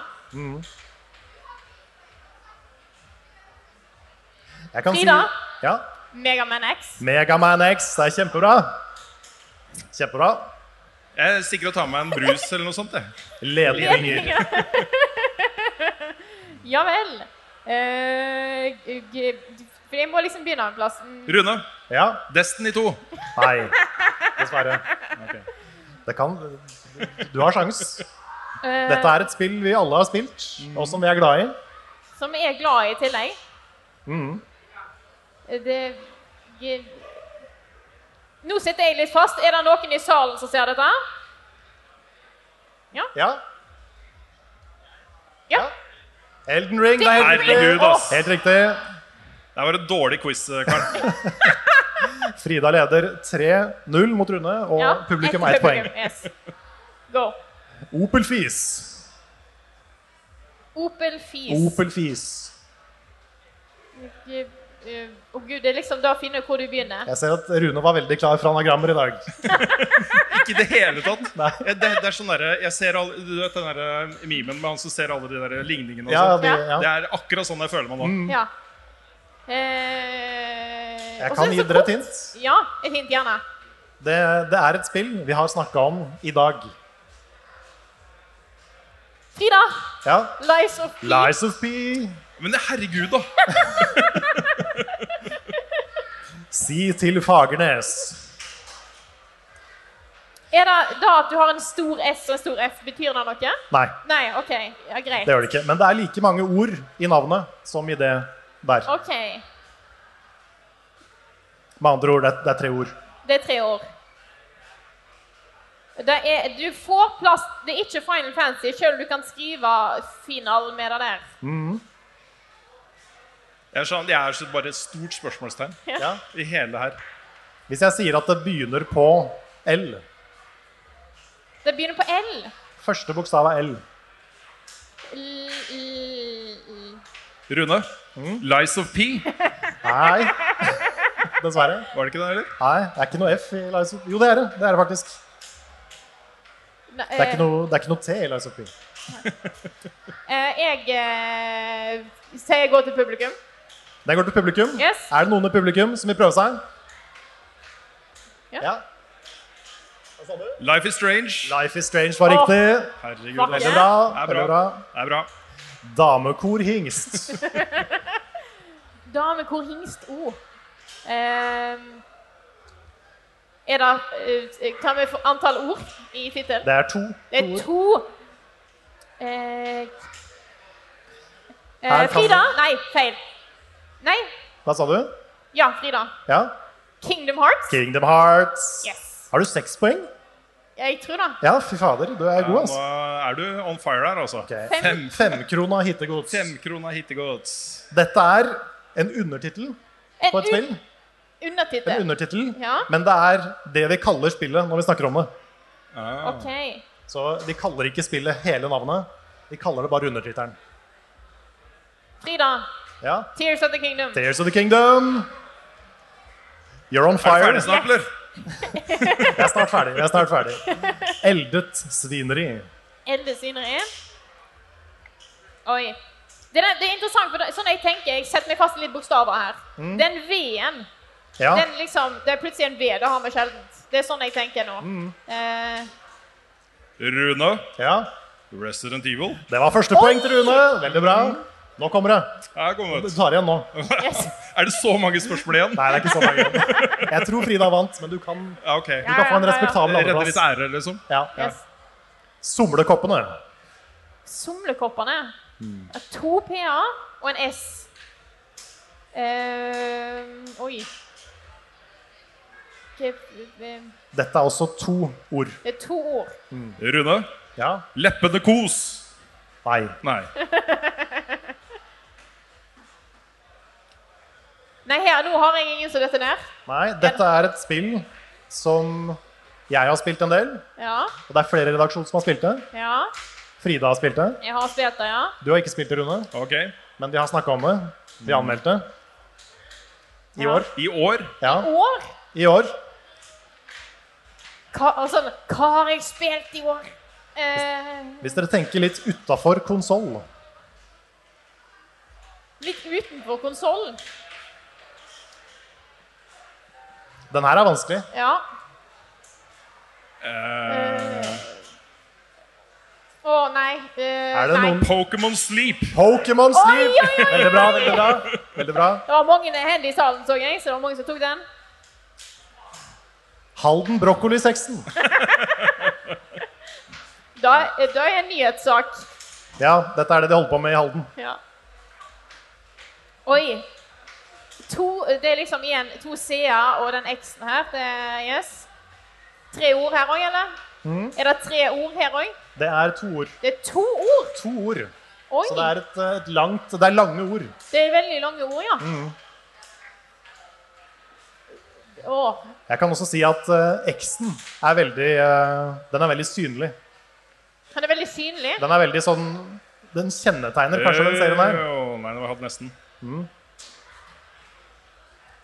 C: Jeg kan
B: Frida?
C: Si, ja.
B: Megaman X.
C: Megaman X. Det er kjempebra. Kjempebra.
A: Jeg stikker og tar meg en brus eller noe sånt. Jeg.
C: Ledninger.
B: Ja vel. Eh, g- g- for jeg må liksom begynne en plass. Mm,
A: Rune,
C: Ja.
A: Destiny 2.
C: Nei. Dessverre. Det kan Du har sjans.
B: eh,
C: Dette er et spill vi alle har spilt, og som vi er glad i.
B: Som jeg er glad i i tillegg.
C: Mm.
B: Det jeg- Nå sitter jeg litt fast. Er det noen i salen som ser dette?
C: Ja.
B: Ja.
C: Elden Ring. Det er helt
A: Herregud,
C: riktig.
A: ass.
C: Helt riktig.
A: Det var en dårlig quiz, eh, Karl.
C: Frida leder 3-0 mot Rune, og
B: ja.
C: publikum har ett poeng.
B: Publikum, Yes. Go.
C: Opel Fis.
B: Opel Fis.
C: Opel Fis.
B: Jeg- eh, Å gud, det er liksom da å finne ut hvor du begynner.
C: Jeg ser at Rune var veldig klar for anagrammer i dag.
A: Ikke i det hele tatt. Jeg, det, det er sånn derre Jeg ser alle Du vet den derre memen med han som ser alle de der ligningene og
C: Ja,
A: sånt.
C: de,
B: Ja. Mm.
C: ja.
A: Det er akkurat sånn jeg føler meg nå.
B: Ja. Eh,
C: Jeg
B: og så er
C: kan
B: det
C: gi
B: så
C: dere et
B: kort.
C: hint.
B: Ja, et hint gjerne.
C: Det, det er et spill vi har snakka om i dag.
B: Frida,
C: Ja.
B: Lies of P.
C: Lies of P.
A: Men herregud, da!
C: Si til Fagernes.
B: Er det da at du har en stor S og en stor F? Betyr det noe?
C: Nei,
B: Nei, OK. Ja, greit.
C: det gjør det ikke. Men det er like mange ord i navnet som i det der.
B: OK.
C: Med andre ord, det, det er tre ord.
B: Det er tre år. Det er, du får plass Det er ikke Final Fantasy, selv om du kan skrive final med det der.
A: Jeg er, sånn, jeg er så bare et stort spørsmålstegn
C: Ja.
A: i hele det her.
C: Hvis jeg sier at det begynner på L
B: Det begynner på L.
C: Første bokstav er L.
B: L, l, l.
A: Rune,
C: Mm.
A: Lies of P.
B: *laughs*
C: Nei. Dessverre.
A: Var det ikke det, eller?
C: Nei, det er ikke noe F i Lies of P. Jo, det er det. Det er det faktisk.
B: Nei,
C: Det er ikke noe, det er ikke noe T i Lies of P.
B: eh, jeg eh, sier gå til publikum.
C: Den går til publikum.
B: Yes.
C: Er det noen i publikum som vil prøve seg?
B: Ja.
C: Hva sa du?
A: Life is Strange.
C: Life is Strange var riktig.
A: Herregud, altså.
C: Veldig bra.
A: Det er
C: Veldig
A: bra.
C: bra.
A: Det er bra.
C: Damekor hingst.
B: Dame, hvor hingst O? Eh, er det eh, Kan vi få antall ord i tittelen?
C: Det er to.
B: Det er
C: ord.
B: to eh, eh,
C: Her kan
B: Frida? Nei, feil. Nei.
C: Hva sa du?
B: Ja, Frida.
C: Ja.
B: Kingdom Hearts.
C: Kingdom Hearts.
B: Yes.
C: Har du seks poeng?
B: Ja, Jeg tror det.
C: Ja, fy fader, du er god,
A: Ja,
C: altså.
A: nå er du on fire der, altså.
C: Ok.
A: Fem,
C: Femkrona hittegods.
A: Femkrona hittegods.
C: Dette er en undertittel
B: En
C: på et spill.
B: un undertittel.
C: En undertittel.
B: Ja.
C: Men det er det vi kaller spillet når vi snakker om det.
B: Ok.
C: Så de kaller ikke spillet hele navnet. De kaller det bare undertittelen.
B: Frida.
C: Ja.
B: Tears of the Kingdom.
C: Tears of the Kingdom. You're on
A: Er du
C: fire.
A: ferdig snart, eller?
C: Jeg er snart ferdig. Jeg er snart
B: *laughs*
C: ferdig. Eldet svineri.
B: Elde svineri. Oi. Det er, det er interessant, for det, sånn jeg tenker, jeg setter meg fast i litt bokstaver her. Den
C: Mm.
B: V-en,
C: Ja.
B: den liksom, det er plutselig en V, det har vi sjeldent. Det er sånn jeg tenker nå.
C: Mm.
B: Eh,
A: Rune,
C: ja.
A: Resident Evil.
C: Det var første poeng til Rune. Veldig bra. Nå kommer det.
A: Her kommer
C: Du
A: det.
C: tar igjen nå.
B: yes.
A: Er det så mange spørsmål igjen?
C: Nei, det er ikke så mange. igjen. *laughs* Jeg tror Frida vant, men du kan,
A: Ja, ok.
C: du kan få en
B: Ja, ja, ja, ja.
C: respektabel
A: Redde litt
C: andreplass.
A: ære, liksom.
C: Ja.
B: yes.
C: Somlekoppene.
B: Somlekoppene.
C: Hmm.
B: To P-er og en S. Eh, oi. Ikke- Det
C: Dette er også to ord.
B: er to ord.
A: Rune,
C: Ja.
A: leppene kos.
C: Nei.
A: Nei.
B: Nei, her, nå har jeg ingen som dette ned.
C: Nei, dette er et spill som jeg har spilt en del.
B: Ja,
C: Og det er flere i redaksjonen som har spilt det.
B: ja.
C: Frida har spilt det.
B: Jeg har spilt det, ja.
C: Du har ikke spilt det, Rune,
A: Ok.
C: men de har snakka om det. De anmeldte det. I
B: Ja.
C: år.
A: I år.
C: Ja,
B: År?
C: i år.
B: Hva, altså, hva har jeg spilt i år? Eh,
C: Hvis dere tenker litt utafor konsoll
B: litt utenfor konsollen.
C: Den her er vanskelig.
B: Ja.
A: Eh,
B: Å nei. eh,
C: Er det
B: nei.
C: noen-
A: Pokémon Sleep.
C: Pokémon Sleep!
B: oi, oi, oi!
C: *laughs* Veldig bra, veldig bra. veldig bra.
B: Det var mange hender i salen, så jeg, så det var mange som tok den.
C: Halden Brokkoli-sexen.
B: Da, eh, da er jeg en nyhetssak.
C: Ja, dette er det de holder på med i Halden.
B: Ja. Oi. To, det er liksom igjen to C-er og den X-en her. Det, er- yes. Tre ord her òg, eller?
C: Mm.
B: Er det tre ord her òg?
C: Det er to ord.
B: Det er to ord!
C: To ord.
B: Oi!
C: Så det er et, eh, et langt Det er lange ord.
B: Det er veldig lange ord, ja.
C: Mm.
B: Åh,
C: Jeg kan også si at eh, X-en er veldig eh, Den er veldig synlig.
B: han er veldig synlig.
C: Den er veldig sånn Den kjennetegner kanskje den serien her.
A: Å, Nei, nå har jeg hatt nesten.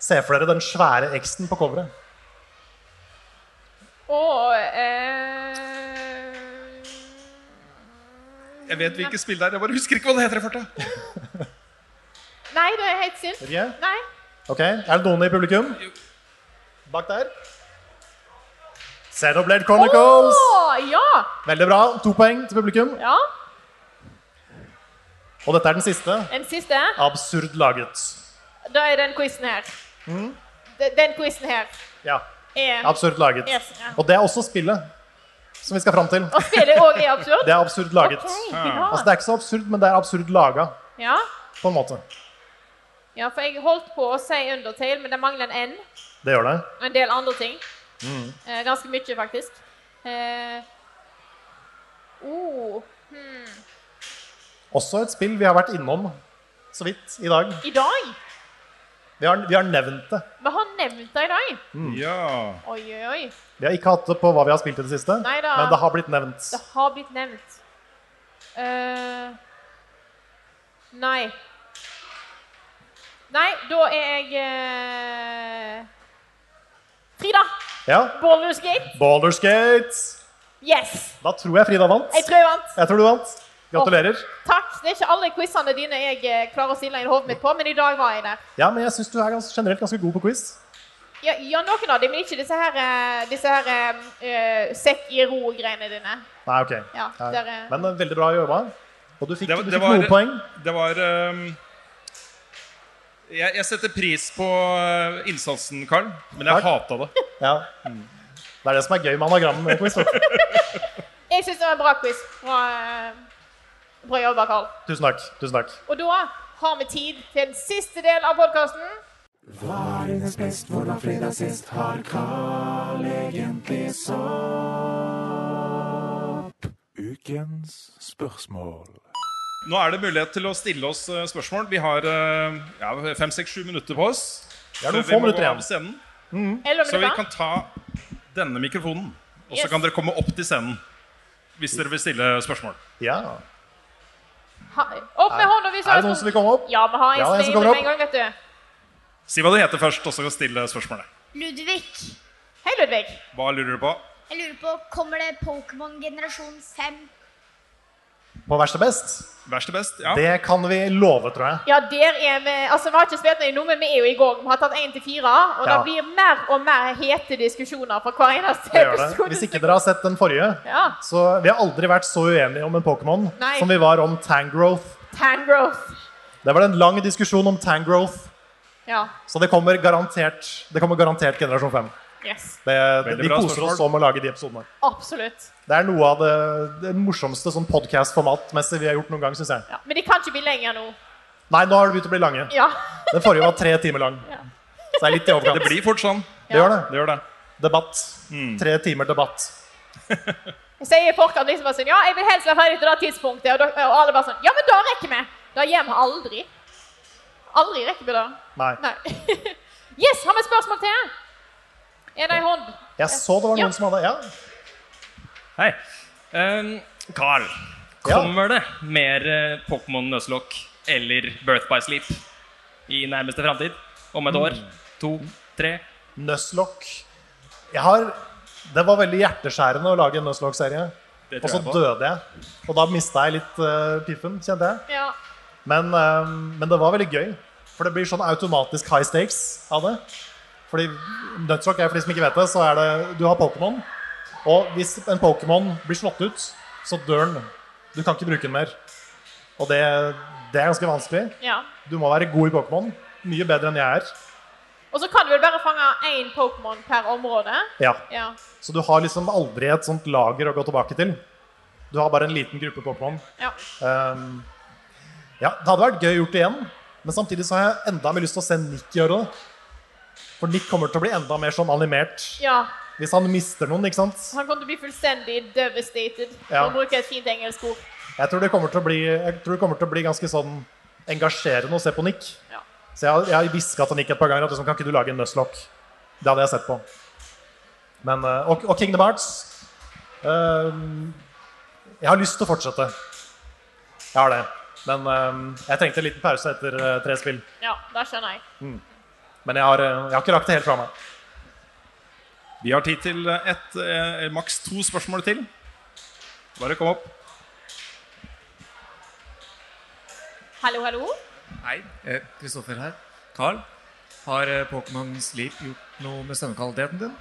C: Se for dere den svære X-en på coveret.
B: Og eh,
A: Jeg vet hvilket spill det er, jeg bare husker ikke hva det heter. i farta.
B: Nei, det er helt synd.
C: Vet ikke?
B: Nei.
C: Ok, Er det noen i publikum? Bak der. Xenoblade Chronicles.
B: Åh, ja!
C: Veldig bra. To poeng til publikum.
B: ja!
C: Og dette er den siste.
B: Den siste.
C: Absurd laget.
B: Da er den quizen her.
C: Mm.
B: De- Den quizen her
C: Ja.
B: er
C: Absurd laget.
B: Yes, ja.
C: Og det er også spillet som vi skal fram til.
B: *laughs* Og spillet òg er absurd?
C: Det er absurd laget.
B: Ok,
C: Altså,
B: ja.
C: det er ikke så absurd, men det er absurd laga,
B: ja.
C: på en måte.
B: Ja, for jeg holdt på å si Undertale, men det mangler en N.
C: Det gjør det.
B: Og en del andre ting.
C: Mm.
B: Eh, ganske mye, faktisk. Eh, oh,
C: Også et spill vi har vært innom så vidt i dag.
B: I dag?
C: Vi har, vi har nevnt det.
B: Vi har nevnt det i dag.
C: Mm.
A: Ja.
B: Oi, oi, oi.
C: Vi har ikke hatt det på hva vi har spilt i det siste,
B: Nei da.
C: men det har blitt nevnt.
B: Det har blitt nevnt. Eh, nei. Nei, da er jeg eh, Frida!
C: Ja.
B: Baldur's Gate.
C: Baldur's Gates.
B: Yes!
C: Da tror jeg Frida vant.
B: Jeg tror jeg vant.
C: Jeg tror du vant. Gratulerer.
B: Takk. Det er ikke alle quizene dine jeg eh, klarer å stille inn hodet mitt på, men i dag var jeg der.
C: Ja, men jeg syns du er gans generelt ganske god på quiz.
B: Ja, ja noen av dem, men ikke disse her, eh, disse her eh, eh, sekk i ro-greiene dine.
C: Nei, OK.
B: Ja,
C: Nei.
B: der er-
C: Men eh, veldig bra jobba. Og du fikk,
A: Det var-
C: du
A: det
C: fikk
A: var-
C: noen poeng.
A: Det var ehm, jeg, jeg setter pris på eh, innsatsen, Carl, men jeg
C: Takk.
A: hata det.
C: Ja. Det er det som er gøy med eh,
B: *laughs*
C: anagram-quiz. vet du.
B: Jeg syns det var en bra quiz. Bra, eh, bra jobba, Karl.
C: Tusen takk. Tusen takk.
B: Og da har vi tid til den siste del av podkasten.
F: Ukens spørsmål.
A: Nå er det mulighet til å stille oss eh, spørsmål. Vi har eh, ja, fem, seks, sju minutter på oss.
C: Det er
A: før
C: noen
A: vi
C: få
A: må gå
C: minutter
A: av
C: igjen.
A: scenen.
B: Elleve
A: Så vi
B: minutter.
A: kan ta denne mikrofonen, og så
B: Yes.
A: kan dere komme opp til scenen hvis dere vil stille spørsmål.
C: Ja.
B: Ha, opp med hånda hvis du
C: Er det noen som vil komme opp?
B: Ja, vi har en
C: Ja,
B: som
C: en som
B: er
C: kommer
B: inne
C: opp.
B: med en gang, vet du.
A: Si hva du heter først, og så kan du stille spørsmålet.
H: Ludvig,
B: Hei, Ludvig.
A: Hva lurer du på?
H: jeg lurer på, kommer det Pokémon generasjon 5?
C: På verste best.
A: Verst til best? Ja.
C: Det kan vi love, tror jeg.
B: Ja, der er vi Altså, vi har ikke spilt noe nå, men vi er jo i gang. Vi har tatt én til fire, og det
C: Ja.
B: blir mer og mer hete diskusjoner fra hver eneste
C: Det gjør det.
B: episode.
C: Hvis ikke dere har sett den forrige,
B: Ja.
C: så vi har aldri vært så uenige om en Pokémon
B: Nei.
C: som vi var om Tangrowth.
B: Tangrowth.
C: Det var en lang diskusjon om Tangrowth,
B: Ja.
C: så det kommer garantert, det kommer garantert generasjon 5.
B: Yes.
C: Det,
A: Veldig
C: vi
A: bra
C: koser
A: spørsmål.
C: oss om å lage de episodene.
B: Absolutt.
C: Det er noe av det, det morsomste sånn podcast-format-messig vi har gjort noen gang, synes jeg.
B: Ja. Men de kan ikke bli lenger nå.
C: Nei, nå har det begynt å bli lange.
B: Ja.
C: Den forrige var tre timer lang. Så det er litt i overkant.
A: Det blir fort sånn. Mm.
C: Det gjør det.
A: Det gjør det.
C: Debatt. Tre timer debatt.
B: Jeg sier folk at liksom bare sånn Ja, jeg vil helst være ferdig til det tidspunktet, og, da, og alle bare sånn Ja, men da rekker vi. Da gjør vi aldri. Aldri rekker vi det.
C: Nei.
B: Nei. *laughs* yes, har vi et spørsmål til? Er det ei hånd?
C: Jeg så det var
B: Ja.
C: noen som hadde Ja.
A: Hei. Ehm, Carl.
C: ja.
A: det mer eh, Pokémon Nøslokk eller Birth by Sleep i nærmeste framtid? Om et år? To? Tre?
C: Nusslock. Jeg har Det var veldig hjerteskjærende å lage en Nusslock-serie.
A: Det
C: Og så døde jeg. Og da mista jeg litt eh, piffen, kjente jeg.
B: Ja.
C: Men, eh, men det var veldig gøy. For det blir sånn automatisk high stakes av det. Fordi Nødsrock er for de som ikke vet det, så er det Du har Pokémon. Og hvis en Pokémon blir slått ut, så dør den. Du kan ikke bruke den mer. Og det, det er ganske vanskelig.
B: ja.
C: Du må være god i Pokémon. Mye bedre enn jeg er.
B: Og så kan du vel bare fange én Pokémon per område?
C: Ja.
B: Ja.
C: Så du har liksom aldri et sånt lager å gå tilbake til. Du har bare en liten gruppe Pokémon.
B: ja.
C: Ehm, ja, det hadde vært gøy å gjort det igjen. Men samtidig så har jeg enda mer lyst til å se Nick gjøre det. For Nick kommer til å bli enda mer sånn animert.
B: ja.
C: Hvis han mister noen, ikke sant.
B: Han kommer til å bli fullstendig devastated, for
C: Ja.
B: å bruke et fint engelsk ord.
C: Jeg tror det kommer til å bli, jeg tror det kommer til å bli ganske sånn engasjerende å se på Nick.
B: Ja.
C: Så jeg, har- jeg har hviska til Nick et par ganger at liksom, kan ikke du lage en Nusslock? Det hadde jeg sett på. Men, eh, og, og Kingdom Hearts ehm, Jeg har lyst til å fortsette. Jeg har det. Men ehm, jeg trengte en liten pause etter eh, tre spill.
B: Ja, det skjønner jeg.
C: Men jeg har, eh, jeg har ikke rakt det helt fra meg.
A: Vi har tid til ett, eh, maks to spørsmål til. Bare kom opp.
B: Hallo, hallo.
A: Hei.
K: Eh, Kristoffer her. Carl, har eh, Pokémon Sleep gjort noe med stemmekvaliteten din?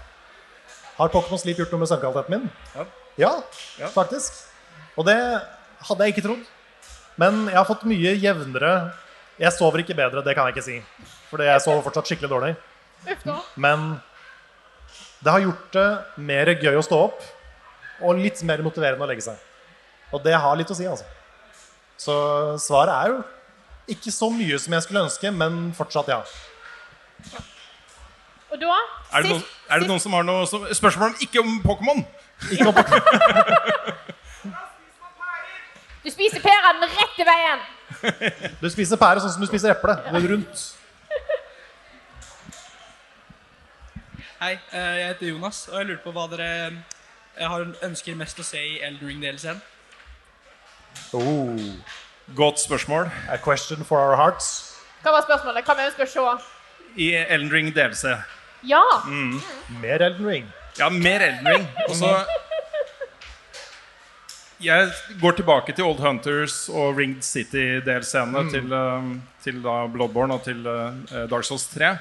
C: Har Pokémon Sleep gjort noe med søvnkvaliteten min?
K: Ja. Ja.
C: faktisk. Og det hadde jeg ikke trodd. Men jeg har fått mye jevnere Jeg sover ikke bedre, det kan jeg ikke si. Fordi jeg sover fortsatt skikkelig dårlig.
B: Uff da.
C: Men det har gjort det mer gøy å stå opp og litt mer motiverende å legge seg. Og det har litt å si, altså. Så svaret er jo ikke så mye som jeg skulle ønske, men fortsatt ja.
B: Og da
A: Er det, noen, er det noen som har noe som, spørsmål om ikke om Pokémon?
C: Ikke opp
B: Du spiser pæra den rette veien!
C: Du spiser pære sånn som du spiser eple. Det er rundt.
A: Hei, eh, jeg heter Jonas, og jeg lurer på hva dere eh, ønsker mest å se i Elden Ring-delscenen.
C: Oh,
A: Godt spørsmål.
C: a question for our hearts.
B: Hva var spørsmålet? Hva vi ønsker å se?
A: I Elden Ring DLC.
B: Ja.
C: Mer Elden Ring.
A: Ja, mer Elden Ring. Og så Jeg går tilbake til Old Hunters og Ringed City-delscenene til, eh, til da Bloodborne og til eh, Dark Souls 3.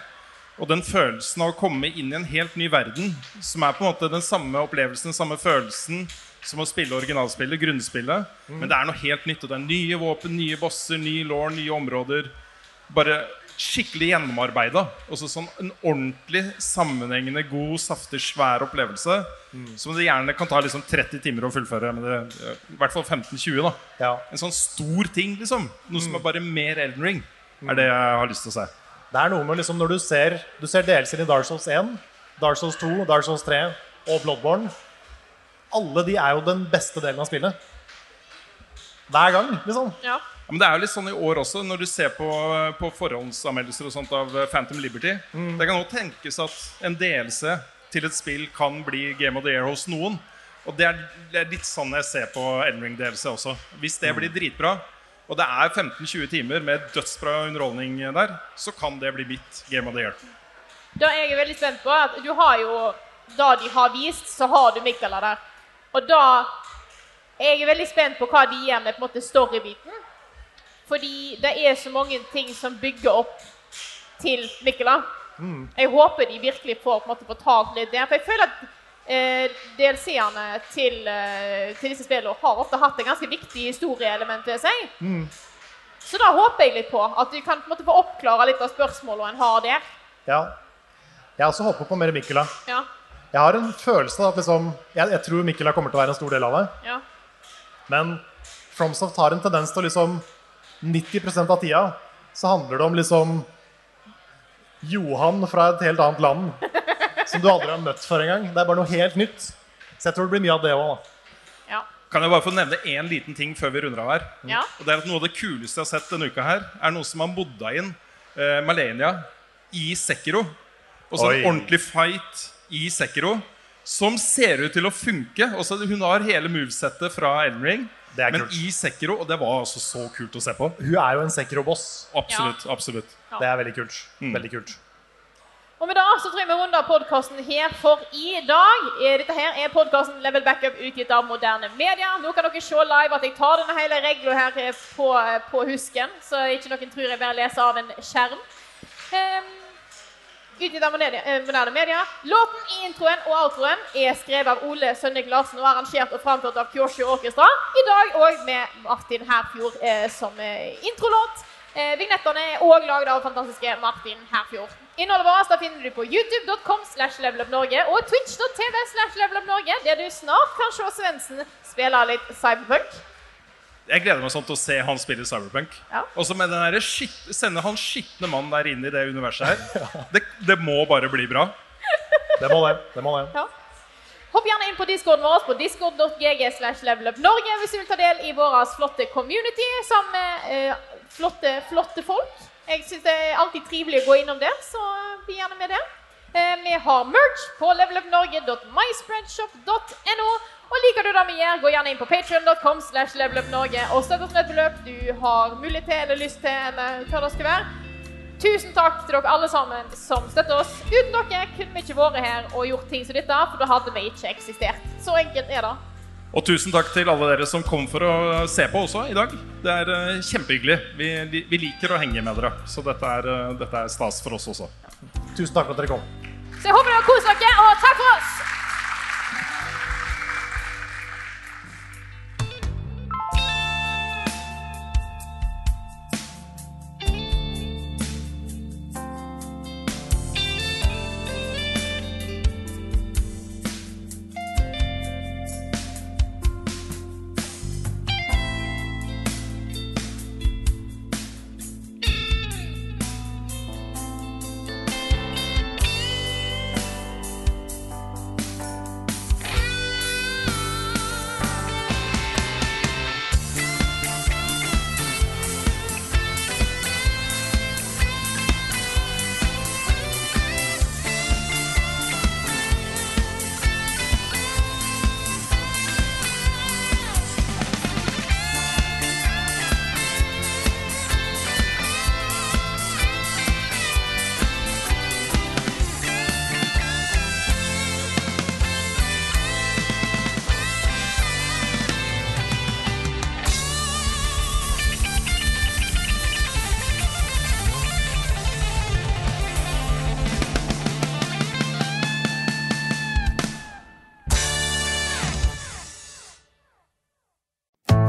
A: Og den følelsen av å komme inn i en helt ny verden, som er på en måte den samme opplevelsen, den samme følelsen som å spille originalspillet, grunnspillet. Men det er noe helt nytt, og det er nye våpen, nye bosser, ny law, nye områder. Bare skikkelig gjennomarbeida. Også sånn en ordentlig sammenhengende, god, saftig, svær opplevelse. Som det gjerne kan ta liksom 30 timer å fullføre. Men det, I hvert fall 15-20. da
C: Ja.
A: En sånn stor ting, liksom. Noe som er bare mer Elden Ring. Er det jeg har lyst til å se.
C: Det Det er noe med liksom når du ser, du ser delelser i Dark Souls 1, Dark Souls 2, Dark Souls 3 og Bloodborne. Alle de er jo den beste delen av spillet. Hver gang, liksom.
B: Ja.
A: Ja, men det er jo litt sånn i år også, når du ser på, på forhåndsanmeldelser og sånt av eh, Phantom Liberty.
C: Mm.
A: Det kan også tenkes at en delelse til et spill kan bli Game of the Year hos noen. Og det er, det er litt sånn jeg ser på Elden Ring-delelse også. Hvis det blir dritbra, og det er 15-20 timer med dødsbra underholdning der, så kan det bli mitt Game of the Year.
B: Det jeg er veldig spent på, er at du har jo det de har vist, så har du Mikaela der. Og da Jeg er veldig spent på hva de gjør med på en måte storybiten. Fordi det er så mange ting som bygger opp til Mikaela.
C: Mm.
B: Jeg håper de virkelig får på en måte fortalt litt der. For jeg føler at eh, DLC-ene til, eh, til disse spillene har ofte hatt et ganske viktig historieelement ved seg.
C: Mm.
B: Så da håper jeg litt på at de kan på en måte få oppklare litt av spørsmålene en har der.
C: Ja. Jeg også håper på mer Mikkela.
B: Ja,
C: Jeg har en følelse av at liksom Jeg, jeg tror Mikkela kommer til å være en stor del av det.
B: ja.
C: Men Fromsoft har en tendens til å liksom 90 av tida så handler det om liksom Johan fra et helt annet land som du aldri har møtt før engang. Det er bare noe helt nytt. Så jeg tror det blir mye av det òg.
B: Ja.
A: Kan jeg bare få nevne én liten ting før vi runder av her?
B: Ja.
A: Og det er at Noe av det kuleste jeg har sett denne uka, her er noe som har modda inn eh, Malenia i Sekiro. Og så en
C: Oi.
A: ordentlig fight i Sekiro som ser ut til å funke. Og så Hun har hele movesettet fra Elden Ring,
C: Det er
A: men
C: kult.
A: i Sekiro. Og det var altså så kult å se på.
C: Hun er jo en Sekiro-boss.
A: Absolutt. absolutt
B: Ja.
C: Det er veldig kult.
A: Mm.
C: Veldig kult.
B: Og med det så tror jeg vi runder podkasten her for i dag. Eh, Dette her er podkasten Level Backup utgitt av Moderne Media. Nå kan dere se live at jeg tar denne hele regla her eh, på, på husken, så ikke noen tror jeg bare leser av en skjerm. Ehm, utgitt av Moderne, eh, moderne Media. Låten i introen og outroen er skrevet av Ole Sønnik Larsen og arrangert og framført av Kyosho Orkestra. I dag òg med Martin Herfjord eh, som eh, introlåt. Eh, vignettene er òg laget av fantastiske Martin Herfjord. Innholdet vårt da finner du på youtube.com slash levelupnorge og twitch.tv slash levelupnorge, der du snart kan se Svendsen spille litt cyberpunk.
A: Jeg gleder meg sånn til å se han spille Cyberpunk.
B: Ja.
A: Og så med den derre skitt- sende han skitne mannen der inn i det
C: *laughs*
A: universet her. Det, det må bare bli bra.
C: Det må det. det, må det.
B: Ja. Hopp gjerne inn på discorden vår på discord.gg slash levelupnorge hvis du vil ta del i vår flotte community sammen med eh, flotte, flotte folk. Jeg syns det er alltid trivelig å gå innom det, så eh, bli gjerne med der. Eh, vi har merch på levelupnorge.myspreadshop.no. Og liker du det vi gjør, gå gjerne inn på patreon.com slash levelupnorge og støtt oss med et beløp du har mulighet til eller lyst til, eller hva det skal være. Tusen takk til dere alle sammen som støtter oss. Uten dere kunne vi ikke vært her og gjort ting som dette, for da hadde vi ikke eksistert. Så enkelt er det.
A: Og tusen takk til alle dere som kom for å se på også i dag. Det er eh, kjempehyggelig. Vi, vi- vi liker å henge med dere. Så dette er, eh, dette er stas for oss også.
C: Tusen takk for at dere kom.
B: Så jeg håper dere har kost dere, og takk for oss!